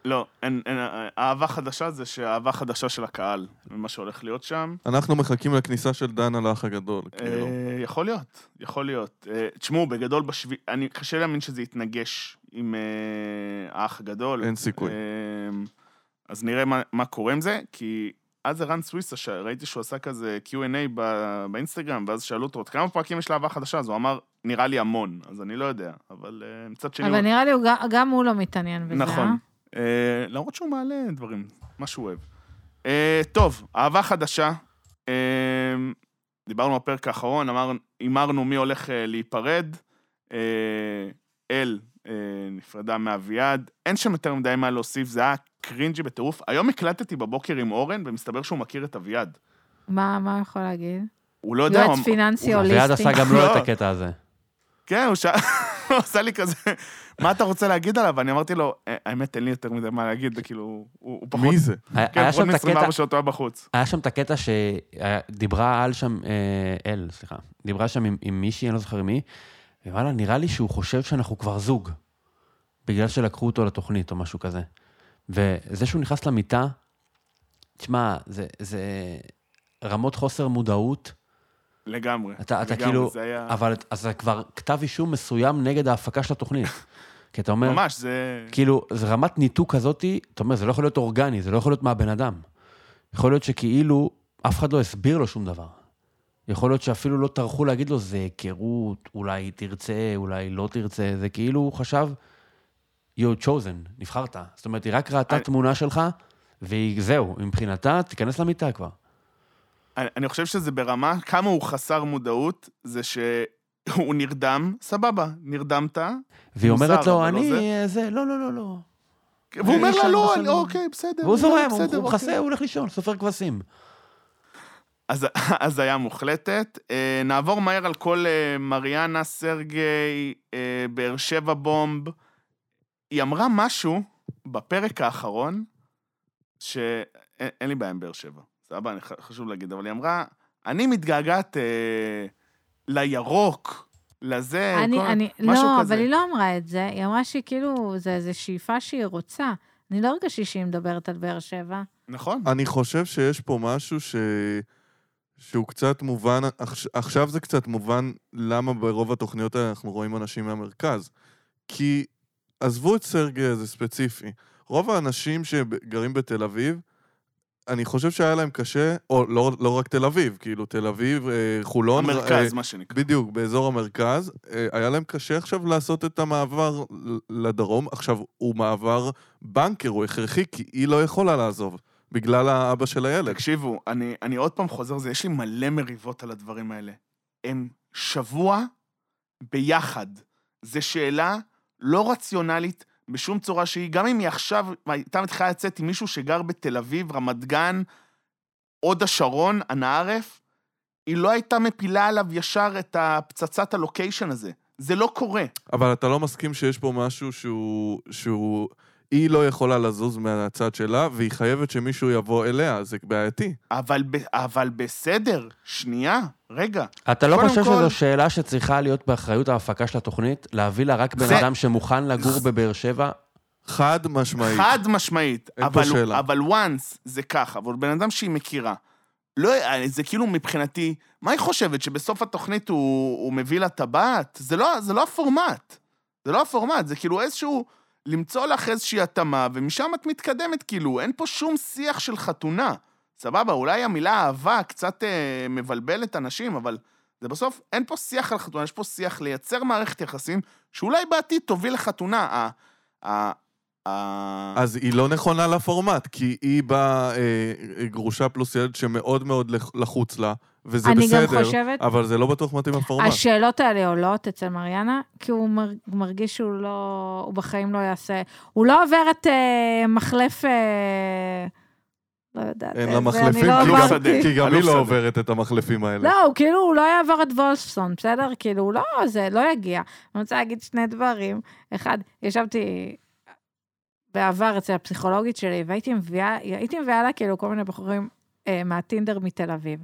S1: לא, אין, אין, אה, אהבה חדשה זה שאהבה חדשה של הקהל, ממה שהולך להיות שם.
S3: אנחנו מחכים לכניסה של דן על האח הגדול, כאילו.
S1: אה, יכול להיות, יכול להיות. אה, תשמעו, בגדול, בשביל... אני קשה להאמין שזה יתנגש עם אה, האח הגדול.
S3: אין סיכוי.
S1: אמ, אז נראה מה, מה קורה עם זה, כי אז ערן סוויסה, שראיתי שהוא עשה כזה Q&A ב- באינסטגרם, ואז שאלו אותו, "עוד כמה פרקים יש לאהבה חדשה? אז הוא אמר, נראה לי המון, אז אני לא יודע, אבל אה, מצד שני...
S2: אבל נראה לי הוא גם- גם הוא לא מתעניין בזה,
S1: נכון.
S2: אה?
S1: אה, למרות שהוא מעלה דברים, מה שהוא אוהב. אה, טוב, אהבה חדשה. אה, דיברנו בפרק האחרון, אמר- הימרנו מי הולך אה, להיפרד. אה, אל אה, נפרדה מאביעד. אין שם יותר מדי מה להוסיף, זה היה קרינג'י בטירוף. היום הקלטתי בבוקר עם אורן, ומסתבר שהוא מכיר את אביעד.
S2: מה מה הוא יכול להגיד?
S1: הוא לא יודע...
S2: יועץ
S1: הוא-
S2: פיננסי
S4: ויד
S2: הוליסטי.
S4: עשה גם לו
S1: לא.
S4: את הקטע הזה.
S1: כן, הוא שאל... [LAUGHS] הוא עשה לי כזה, מה אתה רוצה להגיד עליו? אני אמרתי לו, "אה, האמת, אין לי יותר מדי מה להגיד, כאילו, הוא הוא פחות...
S3: מי זה?
S4: היה
S1: כן,
S4: היה
S1: פחות
S4: שם את הקטע,
S1: מ-24 שעות הוא היה בחוץ.
S4: היה שם את הקטע שדיברה על שם, אה, אל, סליחה, דיברה שם עם, עם מישהי, אני לא זוכר עם מי, ווואלה, נראה לי שהוא חושב שאנחנו כבר זוג, בגלל שלקחו אותו לתוכנית או משהו כזה. וזה שהוא נכנס למיטה, תשמע, זה, זה רמות חוסר מודעות,
S1: לגמרי.
S4: אתה- אתה
S1: לגמרי,
S4: כאילו-
S1: זה היה...
S4: אבל אז זה כבר כתב אישום מסוים נגד ההפקה של התוכנית. כי אתה אומר,
S1: ממש, זה...
S4: כאילו, זה רמת ניתוק כזאתי, אתה אומר, זה לא יכול להיות אורגני, זה לא יכול להיות מהבן אדם. יכול להיות שכאילו, אף אחד לא הסביר לו שום דבר. יכול להיות שאפילו לא טרחו להגיד לו, זה היכרות, אולי תרצה, אולי לא תרצה, זה כאילו, הוא חשב, you're chosen, נבחרת. זאת אומרת, היא רק ראתה
S1: אני-
S4: תמונה שלך, והיא, זהו, מבחינתה, תיכנס למיטה כבר.
S1: אני, אני חושב שזה ברמה, כמה הוא חסר מודעות, זה שהוא נרדם, סבבה, נרדמת,
S4: והיא
S1: מוזר,
S4: אומרת לו,
S1: אבל לא
S4: אני,
S1: זה."
S4: אה, זה, לא, לא, לא, לא.
S1: והוא אומר לה,
S4: ישן,
S1: לא,
S4: ישן.
S1: אני, אוקיי, בסדר.
S4: והוא
S1: לא,
S4: זורם, הוא-
S1: בסדר,
S4: הוא
S1: אוקיי."
S4: מכסה, הוא הולך לישון, סופר כבשים.
S1: אז הזיה מוחלטת. אה, נעבור מהר על כל אה, מריאנה, סרגי, אה, באר שבע בומב. היא אמרה משהו בפרק האחרון, שאין אין לי בעיה עם באר שבע, סבבה, אני ח- חשוב להגיד, אבל היא אמרה, אני מתגעגעת אה, לירוק, לזה,
S3: אה,
S1: כל-
S2: אני, אני,
S1: משהו
S2: לא,
S1: כזה.
S2: אבל היא לא אמרה את זה, היא אמרה שכאילו, זה איזו שאיפה שהיא רוצה. אני לא הרגשתי שהיא מדברת על באר שבע.
S1: נכון.
S3: אני חושב שיש פה משהו ש... שהוא קצת מובן, עכש- עכשיו זה קצת מובן למה ברוב התוכניות האלה אנחנו רואים אנשים מהמרכז. כי עזבו את סרגי הזה ספציפי, רוב האנשים שגרים בתל אביב, אני חושב שהיה להם קשה, או לא, לא רק תל אביב, כאילו תל אביב, אה, חולון,
S1: המרכז, מה שנקרא.
S3: בדיוק, באזור המרכז. אה, היה להם קשה עכשיו לעשות את המעבר ל- לדרום. עכשיו, הוא מעבר בנקר, הוא הכרחי, כי היא לא יכולה לעזוב, בגלל האבא של הילד.
S1: תקשיבו, אני, אני עוד פעם חוזר, זה, יש לי מלא מריבות על הדברים האלה. הם שבוע ביחד. זו שאלה לא רציונלית בשום צורה שהיא, גם אם היא עכשיו הייתה מתחילה לצאת עם מישהו שגר בתל אביב, רמת גן, הוד השרון, אנא ערף, היא לא הייתה מפילה עליו ישר את הפצצת הלוקיישן הזה. זה לא קורה.
S3: אבל אתה לא מסכים שיש פה משהו שהוא... שהוא... היא לא יכולה לזוז מהצד שלה, והיא חייבת שמישהו יבוא אליה, זה בעייתי.
S1: אבל, ב- אבל בסדר, שנייה, רגע.
S4: אתה לא
S1: קודם
S4: חושב
S1: כל-
S4: שזו שאלה שצריכה להיות באחריות ההפקה של התוכנית? להביא לה רק בן
S1: זה-
S4: אדם שמוכן לגור בבאר שבע?
S3: חד משמעית.
S1: חד משמעית.
S3: אין פה
S1: אבל,
S3: שאלה.
S1: אבל once זה ככה, אבל בן אדם שהיא מכירה. לא, זה כאילו מבחינתי, מה היא חושבת, שבסוף התוכנית הוא, הוא מביא לה טבעת? זה לא, זה לא הפורמט. זה לא הפורמט, זה כאילו איזשהו... למצוא לך איזושהי התאמה, ומשם את מתקדמת, כאילו, אין פה שום שיח של חתונה. סבבה, אולי המילה אהבה קצת אה, מבלבלת אנשים, אבל זה בסוף, אין פה שיח על חתונה, יש פה שיח לייצר מערכת יחסים, שאולי בעתיד תוביל לחתונה. ה- ה- ה-
S3: אז היא לא נכונה לפורמט, כי היא באה אה, גרושה פלוס ילד שמאוד מאוד לח- לחוץ לה, וזה
S2: אני גם
S3: בסדר,
S2: חושבת-
S3: אבל זה לא בטוח מתאים לפורמט.
S2: השאלות האלה עולות אצל מריאנה, כי הוא מר- מרגיש שהוא לא, הוא בחיים לא יעשה, הוא לא עובר את אה, מחלף, אה, לא יודעת,
S3: אין
S2: איזה,
S3: לה
S2: אני
S3: מחלפים,
S2: לא
S3: כי גם-
S1: עברתי.
S3: כי גם היא
S1: אלוף שדה.
S3: לא עוברת את המחלפים האלה.
S2: לא, הוא כאילו, הוא לא יעבור את וולפסון, בסדר? כאילו, הוא לא, זה לא יגיע. אני רוצה להגיד שני דברים. אחד, ישבתי בעבר אצל הפסיכולוגית שלי, והייתי מביאה, הייתי מביאה לה כאילו כל מיני בחורים אה, מהטינדר מתל אביב.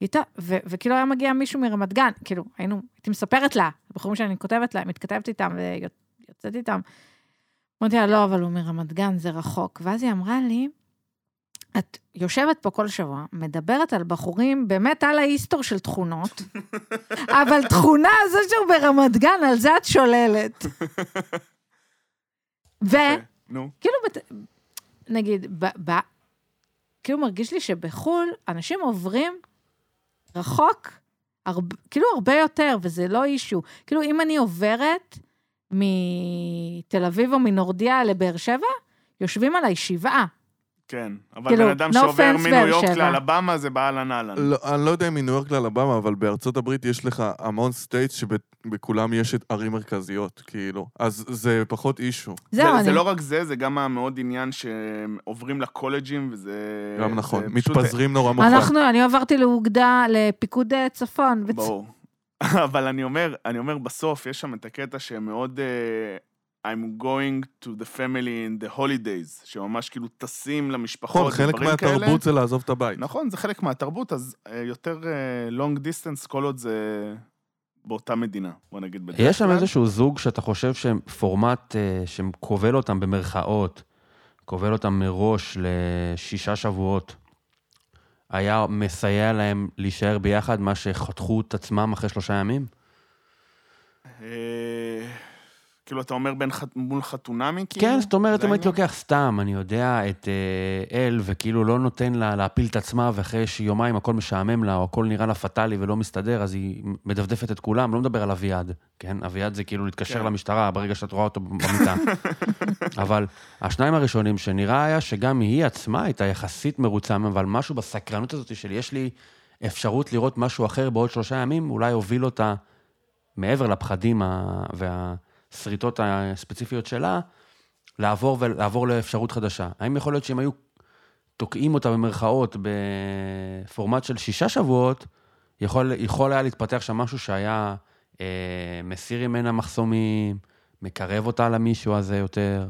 S2: איתה, ו- וכאילו היה מגיע מישהו מרמת גן, כאילו, היינו, הייתי מספרת לה, בחורים שאני כותבת לה, מתכתבת איתם ויוצאת איתם. אמרתי לה, לא, אבל הוא מרמת גן, זה רחוק. ואז היא אמרה לי, את יושבת פה כל שבוע, מדברת על בחורים, באמת על ההיסטור של
S1: [LAUGHS]
S2: תכונות, אבל תכונה הזו שהוא ברמת גן, על זה את
S1: [LAUGHS]
S2: שוללת. וכאילו,
S1: נו.
S2: בת- נגיד, ב- ב- כאילו מרגיש לי שבחו"ל אנשים עוברים רחוק, הרבה, כאילו הרבה יותר, וזה לא אישו. כאילו, אם אני עוברת מתל אביב או מנורדיה לבאר שבע, יושבים עליי שבעה.
S1: כן. אבל
S2: כאילו,
S1: בן אדם
S2: no
S1: שעובר
S2: offense,
S1: מניו
S2: באר
S1: יורק
S2: שבע.
S1: לאלבמה זה באהלן אהלן.
S3: לא, אני לא יודע אם מניו יורק לאלבמה, אבל בארצות הברית יש לך המון סטייטס שבכולם יש את ערים מרכזיות, כאילו. אז זה פחות אישו.
S2: זהו,
S1: זה-
S2: אני...
S1: זה לא רק זה, זה גם המאוד עניין שעוברים לקולג'ים, וזה...
S3: גם נכון.
S1: זה פשוט-
S3: מתפזרים נורא
S1: נכון.
S3: מאוחר.
S2: אנחנו, אני עברתי לאוגדה, לפיקוד אה, צפון. וצ-
S1: ברור. [LAUGHS] אבל אני אומר, אני אומר, בסוף יש שם את הקטע שמאוד... אה, I'm going to the family in the holidays, שממש כאילו טסים
S3: נכון,
S1: למשפחות,
S3: חלק
S1: דברים כאלה.
S3: מהתרבות זה לעזוב את הבית.
S1: נכון, זה חלק מהתרבות, אז אה, יותר אה, long distance כל עוד זה באותה מדינה, בוא נגיד בדרך כלל.
S4: יש שם איזשהו זוג שאתה חושב שהם פורמט אה, שכובל אותם במרכאות, כובל אותם מראש לשישה שבועות, היה מסייע להם להישאר ביחד, מה שחתכו את עצמם אחרי שלושה ימים?
S1: אה, כאילו, אתה אומר בין ח- מול חתונמי, כאילו?
S4: כן, זאת אומרת,
S1: זה
S4: אם הייתי
S1: העניין?
S4: לוקח סתם, אני יודע, את אה, אל, וכאילו לא נותן לה להפיל את עצמה, ואחרי שיומיים הכל משעמם לה, או הכל נראה לה פטאלי ולא מסתדר, אז היא מדפדפת את כולם, לא מדבר על אביעד, כן? אביעד זה כאילו להתקשר
S1: כן.
S4: למשטרה ברגע שאת רואה
S1: [LAUGHS]
S4: אותו במיטה. אבל השניים הראשונים שנראה היה שגם היא עצמה הייתה יחסית מרוצה מהם, אבל משהו בסקרנות הזאת של יש לי אפשרות לראות משהו אחר בעוד שלושה ימים, אולי הוביל אותה מעבר לפחדים ה- והשריטות הספציפיות שלה, לעבור, ולעבור לאפשרות חדשה. האם יכול להיות שהם היו תוקעים אותה במרכאות בפורמט של שישה שבועות, יכול, יכול היה להתפתח שם משהו שהיה אה, מסיר ממנה מחסומים, מקרב אותה למישהו הזה יותר.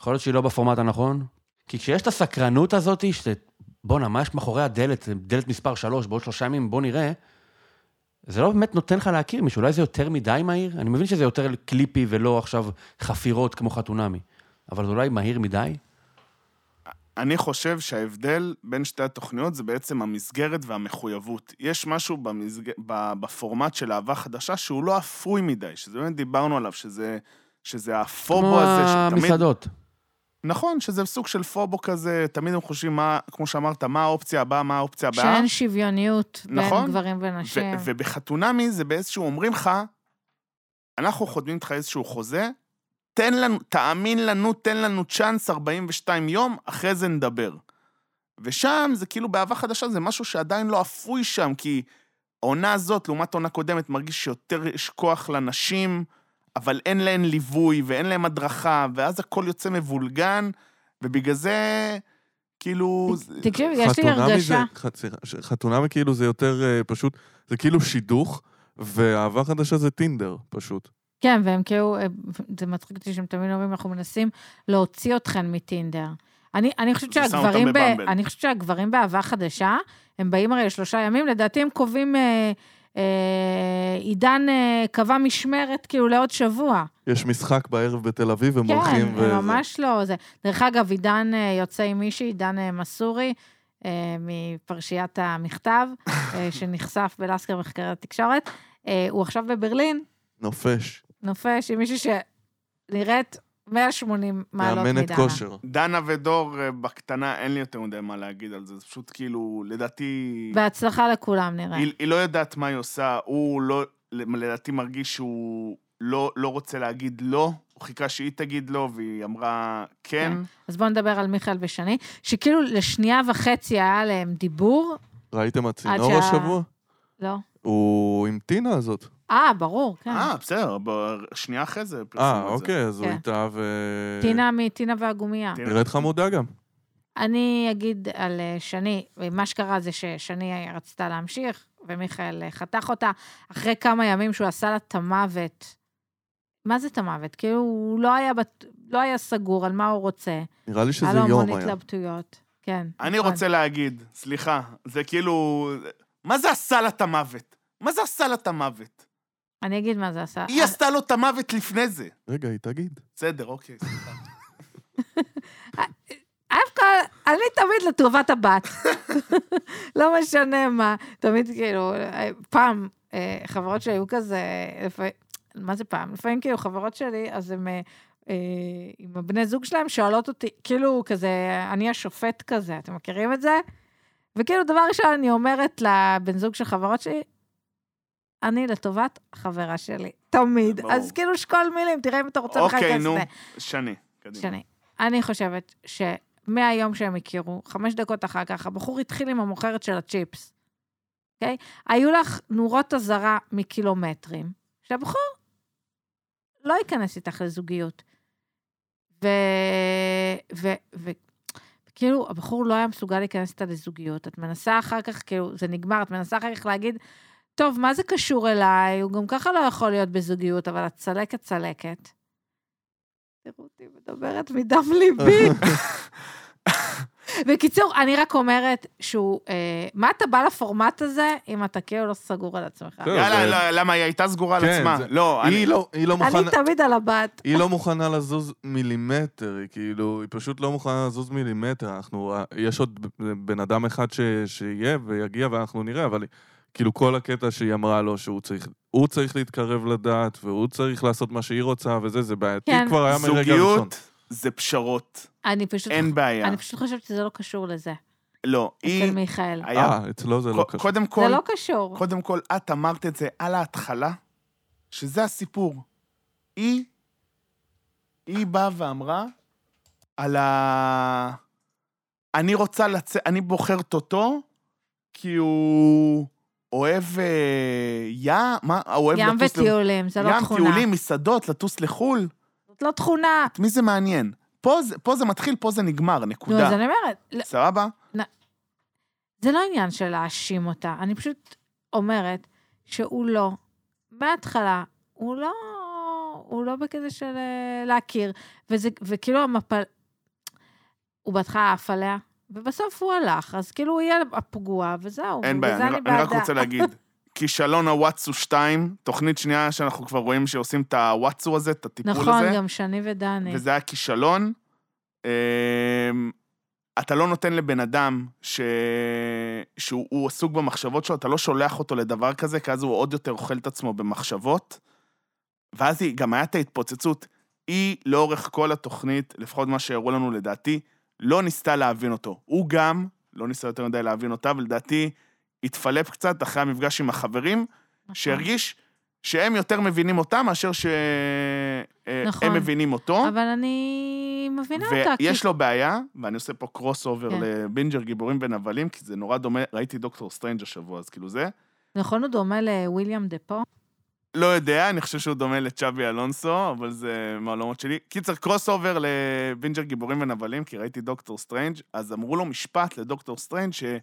S4: יכול להיות שהיא לא בפורמט הנכון? כי כשיש את הסקרנות הזאת, שאת- בואנה, מה יש מאחורי הדלת, דלת מספר 3, בעוד שלושה ימים, בוא נראה, זה לא באמת נותן לך להכיר מישהו, אולי זה יותר מדי מהיר? אני מבין שזה יותר קליפי ולא עכשיו חפירות כמו חתונמי, אבל זה אולי מהיר מדי?
S1: אני חושב שההבדל בין שתי התוכניות זה בעצם המסגרת והמחויבות. יש משהו במסג... ב- בפורמט של אהבה חדשה שהוא לא אפוי מדי, שזה באמת דיברנו עליו, שזה, שזה
S4: כמו
S1: הפובו הזה, שתמיד
S4: המסעדות.
S1: נכון, שזה סוג של פובו כזה, תמיד הם חושבים מה, כמו שאמרת, מה האופציה הבאה, מה האופציה הבאה.
S2: שאין שוויוניות בין
S1: נכון.
S2: גברים ונשים.
S1: ו- ובחתונמי זה באיזשהו, אומרים לך, אנחנו חותמים איתך איזשהו חוזה, תן לנו, תאמין לנו, תן לנו צ'אנס 42 יום, אחרי זה נדבר. ושם זה כאילו באהבה חדשה, זה משהו שעדיין לא אפוי שם, כי העונה הזאת, לעומת העונה קודמת, מרגיש שיותר יש כוח לנשים, אבל אין להן ליווי ואין להן הדרכה, ואז הכל יוצא מבולגן, ובגלל זה, כאילו... זה-
S2: תקשיב, יש לי
S3: חתונמי
S2: הרגשה...
S3: זה- ח- סליחה, ש- חתונמי כאילו זה יותר אה, פשוט, זה כאילו שידוך, ואהבה חדשה זה טינדר, פשוט.
S2: כן, והם כאילו, אה, זה מצחיק אותי שהם תמיד אומרים, אנחנו מנסים להוציא אתכן מטינדר. אני, אני, חושבת
S1: זה שם
S2: שהגברים
S1: אותם
S2: ב,
S1: בבמבל.
S2: אני חושבת שהגברים באהבה חדשה, הם באים הרי לשלושה ימים, לדעתי הם קובעים, אה, אה, עידן אה, קבע משמרת כאילו לעוד שבוע.
S3: יש משחק בערב בתל אביב, הם
S2: כן,
S3: הולכים
S2: הם
S3: וזה.
S2: ממש לא זה. דרך אגב, עידן אה, יוצא עם מישהי, עידן אה, מסורי, אה, מפרשיית המכתב, אה,
S3: [LAUGHS]
S2: שנחשף בלסקר מחקרי התקשורת. אה, הוא עכשיו בברלין,
S3: נופש,
S2: נופש עם מישהי שנראית 180 מעלות
S3: מאמנת
S2: מדנה.
S3: כושר.
S1: דנה ודור, אה, בקטנה, אין לי יותר מדי מה להגיד על זה, זה פשוט כאילו, לדעתי,
S2: בהצלחה לכולם, נראה.
S1: היא, היא לא יודעת מה היא עושה, הוא לא, לדעתי מרגיש שהוא לא, לא רוצה להגיד לא, הוא חיכה שהיא תגיד לא, והיא אמרה כן.
S2: כן. אז בואו נדבר על מיכאל ושני, שכאילו לשנייה וחצי היה להם דיבור,
S3: ראיתם הצינור
S2: שה-
S3: השבוע?
S2: לא?
S3: הוא עם טינה הזאת.
S2: אה, ברור, כן.
S1: אה, בסדר, ב- שנייה אחרי זה פרסמו
S3: אה,
S1: את זה.
S3: אוקיי, אז הוא
S2: כן.
S3: איתה ו...
S2: טינה מטינה והגומייה.
S1: טינה.
S3: נראית חמודה גם.
S2: אני אגיד על אה, שני, מה שקרה זה ששני אה, רצתה להמשיך, ומיכאל אה, חתך אותה, אחרי כמה ימים שהוא עשה לה את המוות. מה זה את המוות? כאילו, הוא לא היה, בת... לא היה סגור על מה הוא רוצה.
S3: נראה לי שזה
S2: היה לו המון
S3: יום היה.
S2: התלבטויות. כן.
S1: אני
S2: נכון.
S1: רוצה להגיד, סליחה, זה כאילו, מה זה עשה לה את המוות? מה זה עשה לה את המוות?
S2: אני אגיד מה זה עשה.
S1: היא עשתה לו את המוות לפני זה.
S3: רגע, היא תגיד.
S1: בסדר, אוקיי, סליחה.
S2: דווקא אני תמיד לטובת הבת. [LAUGHS] לא משנה מה, תמיד כאילו, פעם, אה, חברות שהיו כזה, לפעמים, מה זה פעם? לפעמים כאילו חברות שלי, אז הן אה, אה, עם הבני זוג שלהם, שואלות אותי, כאילו, כזה, אני השופט כזה, אתם מכירים את זה? וכאילו, דבר ראשון, אני אומרת לבן זוג של חברות שלי, אני לטובת חברה שלי, תמיד.
S1: ברור.
S2: אז כאילו, שקול מילים, תראה אם אתה רוצה בכלל
S1: אוקיי,
S2: להיכנס
S1: נו,
S2: לזה.
S1: שני. קדימה.
S2: שני. אני חושבת שמהיום שהם הכירו, חמש דקות אחר כך, הבחור התחיל עם המוכרת של הצ'יפס, אוקיי? היו לך נורות אזהרה מקילומטרים, שהבחור לא ייכנס איתך לזוגיות. ו... ו... ו... כאילו, הבחור לא היה מסוגל להיכנס איתה לזוגיות. את מנסה אחר כך, כאילו, זה נגמר, את מנסה אחר כך להגיד, טוב, מה זה קשור אליי? הוא גם ככה לא יכול להיות בזוגיות, אבל את צלקת צלקת. תראו אותי מדברת מדם
S1: [LAUGHS]
S2: ליבי. בקיצור, אני רק אומרת שהוא... אה, מה אתה בא לפורמט הזה אם אתה כאילו לא סגור על עצמך?
S3: כן,
S1: יאללה,
S3: זה-
S1: לא, למה היא הייתה סגורה על
S3: כן,
S1: עצמה?
S3: זה-
S1: לא, אני...
S3: היא לא- היא לא
S2: אני
S3: מוכנה...
S2: תמיד על הבת.
S3: היא לא מוכנה לזוז מילימטר, היא כאילו, היא פשוט לא מוכנה לזוז מילימטר. אנחנו, אה, יש עוד בן אדם אחד ש, שיהיה ויגיע ואנחנו נראה, אבל היא- כאילו כל הקטע שהיא אמרה לו שהוא צריך, הוא צריך להתקרב לדת, והוא צריך לעשות מה שהיא רוצה וזה, זה בעייתי
S2: כן.
S3: כבר היה מרגע ראשון.
S1: זוגיות זה פשרות,
S2: אני פשוט...
S1: אין בעיה.
S2: אני פשוט חושבת שזה לא קשור לזה,
S1: לא, היא...
S2: אצל מיכאל.
S1: היה-
S3: אה, אצלו זה לא
S1: ק-
S3: קשור.
S1: קודם כל,
S2: זה לא קשור.
S1: קודם כל, את אמרת את זה על ההתחלה, שזה הסיפור. היא, היא באה ואמרה על ה... אני רוצה לצאת, אני בוחרת אותו, כי הוא אוהב אה, ים, מה, אוהב
S2: ים
S1: לטוס... ל-
S2: וטיולים, זה לא
S1: ים,
S2: תכונה.
S1: טיולים, מסעדות, לטוס לחו"ל.
S2: זאת לא תכונה.
S1: את מי זה מעניין? פה זה, פה זה מתחיל, פה זה נגמר,
S2: נו, אז
S1: נקודה.
S2: אני אומרת, לא-
S1: סבבה?
S2: זה לא עניין של להאשים אותה. אני פשוט אומרת שהוא לא, בהתחלה, הוא לא, הוא לא בכזה של אה, להכיר. וזה, וכאילו המפל... הוא בהתחלה עף עליה, ובסוף הוא הלך, אז כאילו הוא יהיה הפגוע, וזהו.
S1: אין
S2: ובגלל
S1: בעיה,
S2: זה
S1: אני, אני רק
S2: בעדה.
S1: רוצה
S2: [LAUGHS]
S1: להגיד, כישלון הוואטסו 2, תוכנית שנייה שאנחנו כבר רואים שעושים את הוואטסו הזה, את הטיפול
S2: נכון,
S1: הזה,
S2: גם שני ודני.
S1: וזה היה כישלון. אמ, אתה לא נותן לבן אדם ש... שהוא הוא עסוק במחשבות שלו, אתה לא שולח אותו לדבר כזה, כי אז הוא עוד יותר אוכל את עצמו במחשבות. ואז היא, גם היה את ההתפוצצות. היא, לאורך כל התוכנית, לפחות מה שהראו לנו לדעתי, לא ניסתה להבין אותו. הוא גם לא ניסה יותר מדי להבין אותה, ולדעתי התפלפ קצת אחרי המפגש עם החברים,
S2: נכון.
S1: שהרגיש שהם יותר מבינים אותה מאשר שהם
S2: נכון.
S1: נכון. מבינים אותו.
S2: אבל אני מבינה אותה. כי-
S1: ויש לו בעיה, ואני עושה פה קרוס אובר
S2: כן.
S1: לבינג'ר גיבורים ונבלים, כי זה נורא דומה, ראיתי דוקטור סטרנג' השבוע, אז כאילו זה.
S2: נכון, הוא דומה לוויליאם דפו?
S1: לא יודע, אני חושב שהוא דומה לצ'אבי אלונסו, אבל זה מהלומות שלי. קיצר, קרוס אובר לבינג'ר גיבורים ונבלים, כי ראיתי דוקטור סטרנג', אז אמרו לו משפט לדוקטור סטרנג' שאי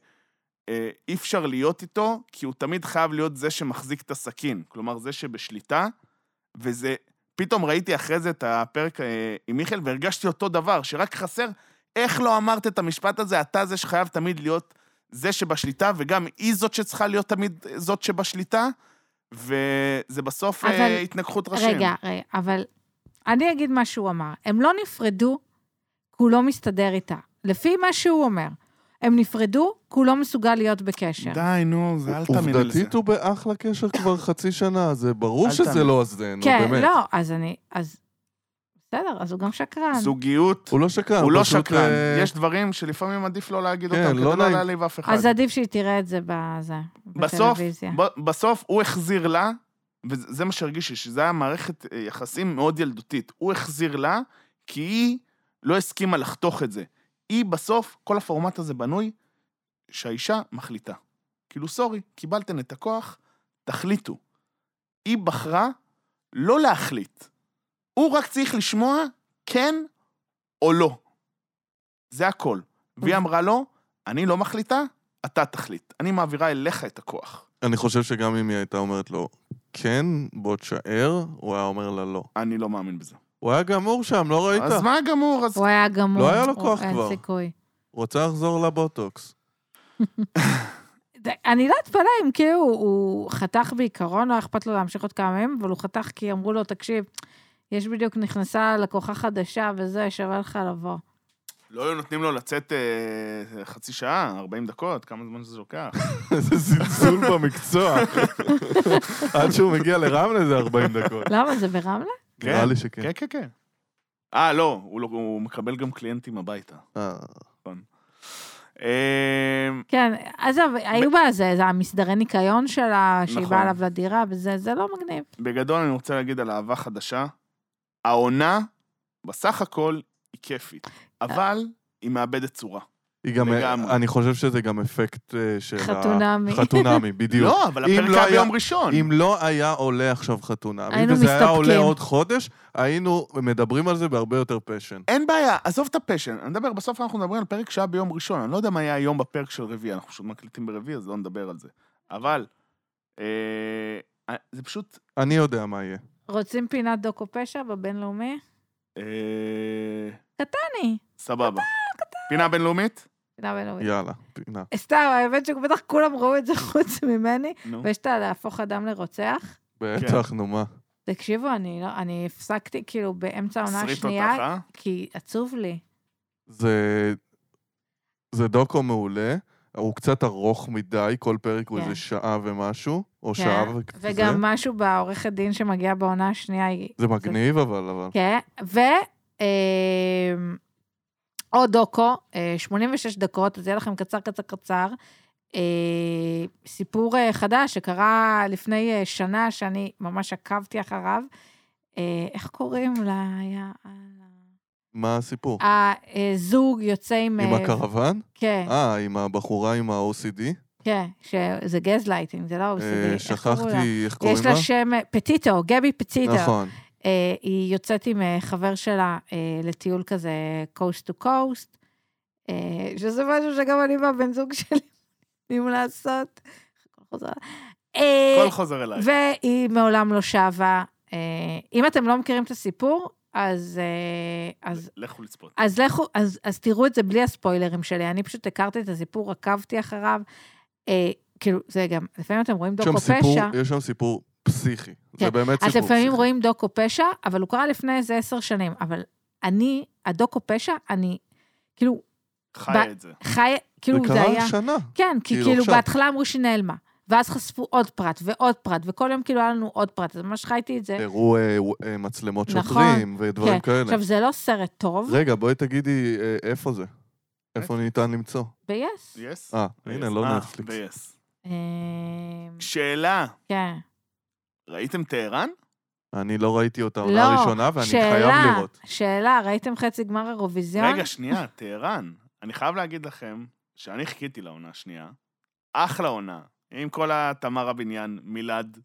S1: אה, אפשר להיות איתו, כי הוא תמיד חייב להיות זה שמחזיק את הסכין. כלומר, זה שבשליטה, וזה... פתאום ראיתי אחרי זה את הפרק אה, עם מיכאל, והרגשתי אותו דבר, שרק חסר, איך לא אמרת את המשפט הזה, אתה זה שחייב תמיד להיות זה שבשליטה, וגם היא זאת שצריכה להיות תמיד זאת שבשליטה, וזה בסוף
S2: אבל-
S1: אבל... התנגחות ראשים.
S2: רגע, רגע, אבל אני אגיד מה שהוא אמר. הם לא נפרדו כי הוא לא מסתדר איתה. לפי מה שהוא אומר, הם נפרדו כי הוא לא מסוגל להיות בקשר.
S1: די, נו, זה אל תאמין על זה.
S3: עובדתית הוא באחלה קשר כבר חצי שנה, זה ברור
S1: אל
S3: שזה
S1: תאמין.
S3: לא הזן, נו,
S2: כן,
S3: באמת.
S2: לא, אז אני, אז... בסדר, אז הוא גם שקרן.
S1: זוגיות,
S3: הוא לא שקרן,
S1: הוא לא
S3: פשוט,
S1: שקרן.
S3: אה,
S1: יש דברים שלפעמים עדיף לא להגיד
S3: כן,
S1: אותם,
S3: לא
S1: כדי
S3: נעים.
S1: לא להעליב אף אחד.
S2: אז עדיף שהיא תראה את זה בזה,
S1: בסוף,
S2: בטלוויזיה.
S1: ב- בסוף הוא החזיר לה, וזה מה שהרגיש לי, שזה היה מערכת אה, יחסים מאוד ילדותית. הוא החזיר לה, כי היא לא הסכימה לחתוך את זה. היא בסוף, כל הפורמט הזה בנוי, שהאישה מחליטה. כאילו, סורי, קיבלתן את הכוח, תחליטו. היא בחרה לא להחליט. הוא רק צריך לשמוע כן או לא. זה הכל. והיא אמרה לו, אני לא מחליטה, אתה תחליט. אני מעבירה אליך את הכוח.
S3: אני חושב שגם אם היא הייתה אומרת לו, כן, בוא תשאר, הוא היה אומר לה לא.
S1: אני לא מאמין בזה.
S3: הוא היה גמור שם, לא ראית?
S1: אז מה גמור? אז...
S2: הוא היה גמור.
S3: לא היה לו
S2: הוא-
S3: כוח כבר.
S2: אין סיכוי.
S3: הוא רוצה לחזור לבוטוקס.
S2: ד- אני לא אתפלא אם כאילו הוא- הוא חתך בעיקרון, לא היה אכפת לו להמשיך עוד כמה ימים, אבל הוא חתך כי אמרו לו, תקשיב, יש בדיוק נכנסה לקוחה חדשה וזה, שווה לך לבוא.
S1: לא היו נותנים לו לצאת אה, חצי שעה, 40 דקות, כמה זמן שזה לוקח.
S3: [LAUGHS] איזה זלזול במקצוע. עד שהוא מגיע לרמלה זה 40 דקות.
S2: למה, זה ברמלה?
S1: [LAUGHS] כן.
S3: נראה לי שכן.
S1: כן, כן, כן. אה, לא, הוא לא- הוא מקבל גם קליינטים הביתה.
S3: אה,
S1: אמ,
S2: כן, עזוב, היו בה זה, זה המסדרי ניקיון שלה, שהיא
S1: נכון.
S2: באה אליו לדירה, וזה זה לא מגניב.
S1: בגדול אני רוצה להגיד על אהבה חדשה. העונה, בסך הכל, היא כיפית, אבל היא מאבדת צורה.
S3: היא גם,
S1: לגמרי.
S3: אני חושב שזה גם אפקט אה, של... ה-
S2: חתונמי.
S3: חתונמי, בדיוק.
S1: לא, אבל
S3: אם
S1: הפרק
S3: לא
S1: היה
S3: היה-
S1: ביום ראשון.
S3: אם לא היה עולה עכשיו חתונמי,
S2: נכון. היינו
S3: וזה היה עולה
S2: מסתפקים.
S3: עוד חודש, היינו מדברים על זה בהרבה יותר פשן.
S1: אין בעיה, עזוב את הפשן. אני מדבר, בסוף אנחנו מדברים על פרק שעה ביום ראשון. אני לא יודע מה היה היום בפרק של רביעי, אנחנו פשוט מקליטים ברביעי, אז לא נדבר על זה. אבל, אה, זה פשוט...
S3: אני יודע מה יהיה.
S2: רוצים פינת דוקו פשע בבינלאומי?
S1: אה,
S2: אני.
S1: סבבה. פינה בינלאומית?
S2: פינה בינלאומית.
S3: יאללה, פינה.
S2: סתם, האמת שבטח כולם ראו את זה חוץ ממני,
S1: נו.
S2: ויש את הלהפוך אדם לרוצח.
S3: בטח, נו מה.
S2: תקשיבו, אני לא, אני הפסקתי כאילו באמצע העונה
S1: שריט אותך,
S2: השנייה,
S1: אה?
S2: כי עצוב לי.
S3: זה... זה דוקו מעולה, הוא קצת ארוך מדי, כל פרק הוא
S2: כן.
S3: איזה שעה ומשהו, או שעה וכזה.
S2: וגם משהו בעורכת דין שמגיעה בעונה השנייה, היא...
S3: זה מגניב אבל, אבל.
S2: כן, ו... אה, עוד דוקו, אה, 86 דקות, אז יהיה לכם קצר, קצר, קצר. אה, סיפור אה, חדש שקרה לפני אה, שנה, שאני ממש עקבתי אחריו. אה, איך קוראים לה? היה- כן.
S3: מה הסיפור?
S2: אה, הזוג יוצא עם...
S3: עם
S2: אה,
S3: הקרוון?
S2: כן,
S3: אה, עם הבחורה עם ה-OCD?
S2: כן, שזה גזלייטינג, זה לא OCD. איך
S3: אה,
S2: קראו לה?
S3: שכחתי איך קוראים
S2: יש
S3: לה.
S2: לה שם, אה, פטיטו, גבי פטיטו.
S3: נכון.
S2: אה, היא יוצאת עם אה, חבר שלה אה, לטיול כזה coast to coast, אה, שזה משהו שגם אני והבן זוג שלי יודעים לעשות. הכל חוזר. אה,
S1: הכל חוזר אליי.
S2: והיא מעולם לא שבה. אה, אם אתם לא מכירים את הסיפור, אז, אה, אז
S1: לכו לצפות.
S2: אז לכו, אז, אז תראו את זה בלי הספוילרים שלי. אני פשוט הכרתי את הסיפור, עקבתי אחריו. אה, כאילו, זה גם, לפעמים אתם רואים
S3: יש שם
S2: דוקו
S3: סיפור,
S2: פשע.
S3: יש שם סיפור פסיכי. זה
S2: כן.
S3: באמת
S2: אז
S3: סיפור פסיכי.
S2: לפעמים רואים דוקו פשע, אבל הוא קרה לפני איזה עשר שנים. אבל אני, הדוקו פשע, אני, כאילו,
S1: חי את זה.
S2: חי, כאילו,
S3: זה
S2: זה היה...
S3: קרה שנה.
S2: כן, כי
S3: כאילו,
S2: כאילו,
S3: עכשיו.
S2: בהתחלה אמרו שהיא נעלמה. ואז חשפו עוד פרט ועוד פרט, וכל יום כאילו היה לנו עוד פרט, אז ממש חייתי את זה.
S3: הראו אה, ו- אה, מצלמות
S2: כן. נכון.
S3: שוטרים
S2: כן.
S3: ודברים כאלה.
S2: עכשיו, זה לא סרט טוב,
S3: רגע, בואי תגידי אה, איפה זה. איפה ניתן למצוא?
S2: ביס.
S1: יס?
S3: אה, הנה, לא נטפליקס.
S1: ביס.
S2: אה,
S1: שאלה,
S2: כן.
S1: ראיתם טהרן?
S3: אני לא ראיתי אותה עונה ראשונה, ואני חייב לראות.
S2: שאלה, ראיתם חצי גמר אירוויזיון?
S1: רגע, שנייה, טהרן. אני חייב להגיד לכם שאני חיכיתי לעונה השנייה. אחלה עונה. עם כל התמרה בניין, מילד,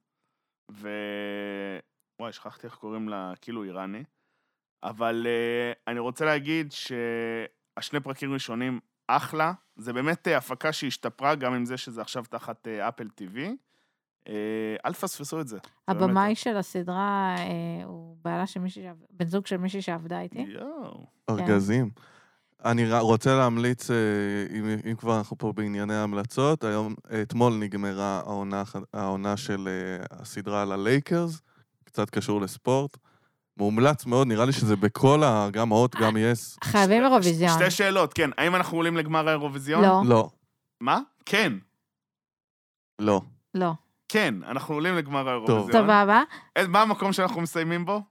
S1: ו... וואי, שכחתי איך קוראים לה, כאילו איראני. אבל uh, אני רוצה להגיד שהשני פרקים ראשונים, אחלה. זה באמת אה, הפקה שהשתפרה, גם עם זה שזה עכשיו תחת אה, אפל TV. אה, אל תפספסו את זה.
S2: הבמאי של הסדרה אה, הוא בעלה של מישהי, שעב- בן זוג של מישהי שעבדה איתי.
S1: יואו.
S2: כן.
S3: ארגזים. אני ר- רוצה להמליץ, אה, אם- אם כבר אנחנו פה בענייני ההמלצות, היום, אתמול נגמרה העונה הח- העונה של אה, הסדרה על הלייקרס, קצת קשור לספורט. מומלץ מאוד, נראה לי שזה בכל ה... גם הוט,
S2: אה,
S3: גם יס.
S2: חייבים
S1: שתי-
S2: אירוויזיון.
S1: שתי שאלות, כן. האם אנחנו עולים לגמר האירוויזיון?
S2: לא,
S3: לא,
S1: מה? כן.
S3: לא.
S2: לא.
S1: כן, אנחנו עולים לגמר האירוויזיון.
S2: סבבה.
S1: אה, מה המקום שאנחנו מסיימים בו?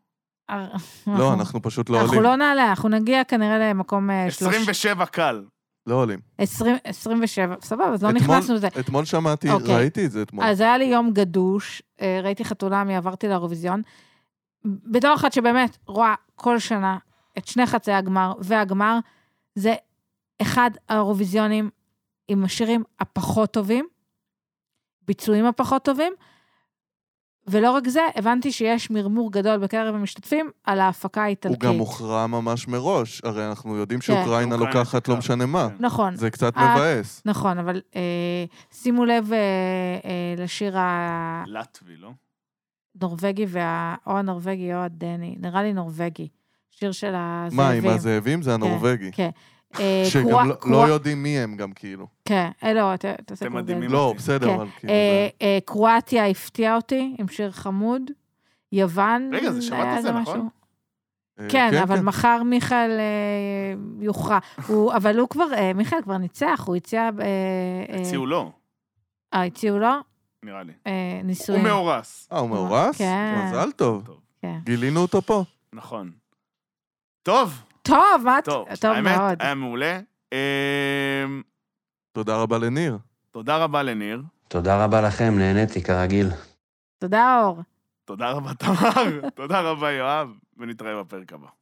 S2: אה,
S3: לא, אנחנו פשוט לא
S2: אנחנו
S3: עולים.
S2: לא נעלה, אנחנו נגיע כנראה למקום אה, שלוש...
S1: 27 קל.
S3: לא עולים.
S2: עשרים- 27, סבבה, אז לא
S3: אתמול-
S2: נכנסנו לזה.
S3: אתמול שמעתי,
S2: אוקיי.
S3: ראיתי את זה אתמול.
S2: אז היה לי יום גדוש, אה, ראיתי חתולמי, עברתי לאירוויזיון. בתור אחת שבאמת רואה כל שנה את שני חצי הגמר והגמר, זה אחד האירוויזיונים עם השירים הפחות טובים, ביצועים הפחות טובים, ולא רק זה, הבנתי שיש מרמור גדול בקרב המשתתפים על ההפקה
S3: הוא
S2: האיטלקית.
S3: גם הוכרע ממש מראש, הרי אנחנו יודעים
S2: כן.
S3: שאוקראינה
S1: אוקראינה
S3: לוקחת לא
S1: תיקח,
S3: משנה מה.
S1: כן.
S2: נכון,
S3: זה קצת
S2: אה,
S3: מבאס.
S2: נכון, אבל אה, שימו לב אה, אה, לשיר ה...
S1: לטבי, לא?
S2: נורבגי וה... או הנורבגי או הדני, נראה לי נורבגי. שיר של הזאבים.
S3: מה, עם הזאבים זה הנורבגי.
S2: כן. אה, קרוע-
S3: שגם לא-
S2: קרוע-
S3: לא יודעים מי הם גם, כאילו.
S2: כן, אה, לא, ת- תעשה
S1: אתם
S2: גוגל.
S1: מדהימים. מי
S3: לא,
S1: מכיר?
S3: בסדר,
S2: כן.
S3: אבל כאילו...
S2: אה,
S3: זה-
S2: אה, קרואטיה הפתיעה אותי עם שיר חמוד. יוון,
S1: רגע, זה שבת
S2: היה
S1: הזה,
S2: איזה
S1: נכון?
S2: משהו.
S3: אה,
S2: כן, אבל מחר מיכאל אה, יוכרע. הוא- אבל הוא כבר, אה, מיכאל כבר ניצח, הוא הציע... אה, אה,
S1: הציעו לו,
S2: אה, הציעו לו?
S1: נראה לי.
S2: אה,
S1: הוא
S2: נישואים.
S1: מאורס.
S3: אה, הוא מאורס?
S2: כן.
S3: מזל טוב.
S1: טוב.
S2: כן.
S3: גילינו אותו פה.
S1: נכון. טוב,
S2: טוב, מה... את-
S1: טוב.
S2: טוב מאוד.
S1: האמת, אה, היה מעולה. אמ,
S3: תודה רבה לניר.
S1: תודה רבה לניר.
S4: תודה רבה לכם, נהניתי כרגיל.
S2: תודה, אור. [LAUGHS]
S1: תודה רבה, תמר. תודה רבה, יואב, ונתראה בפרק הבא.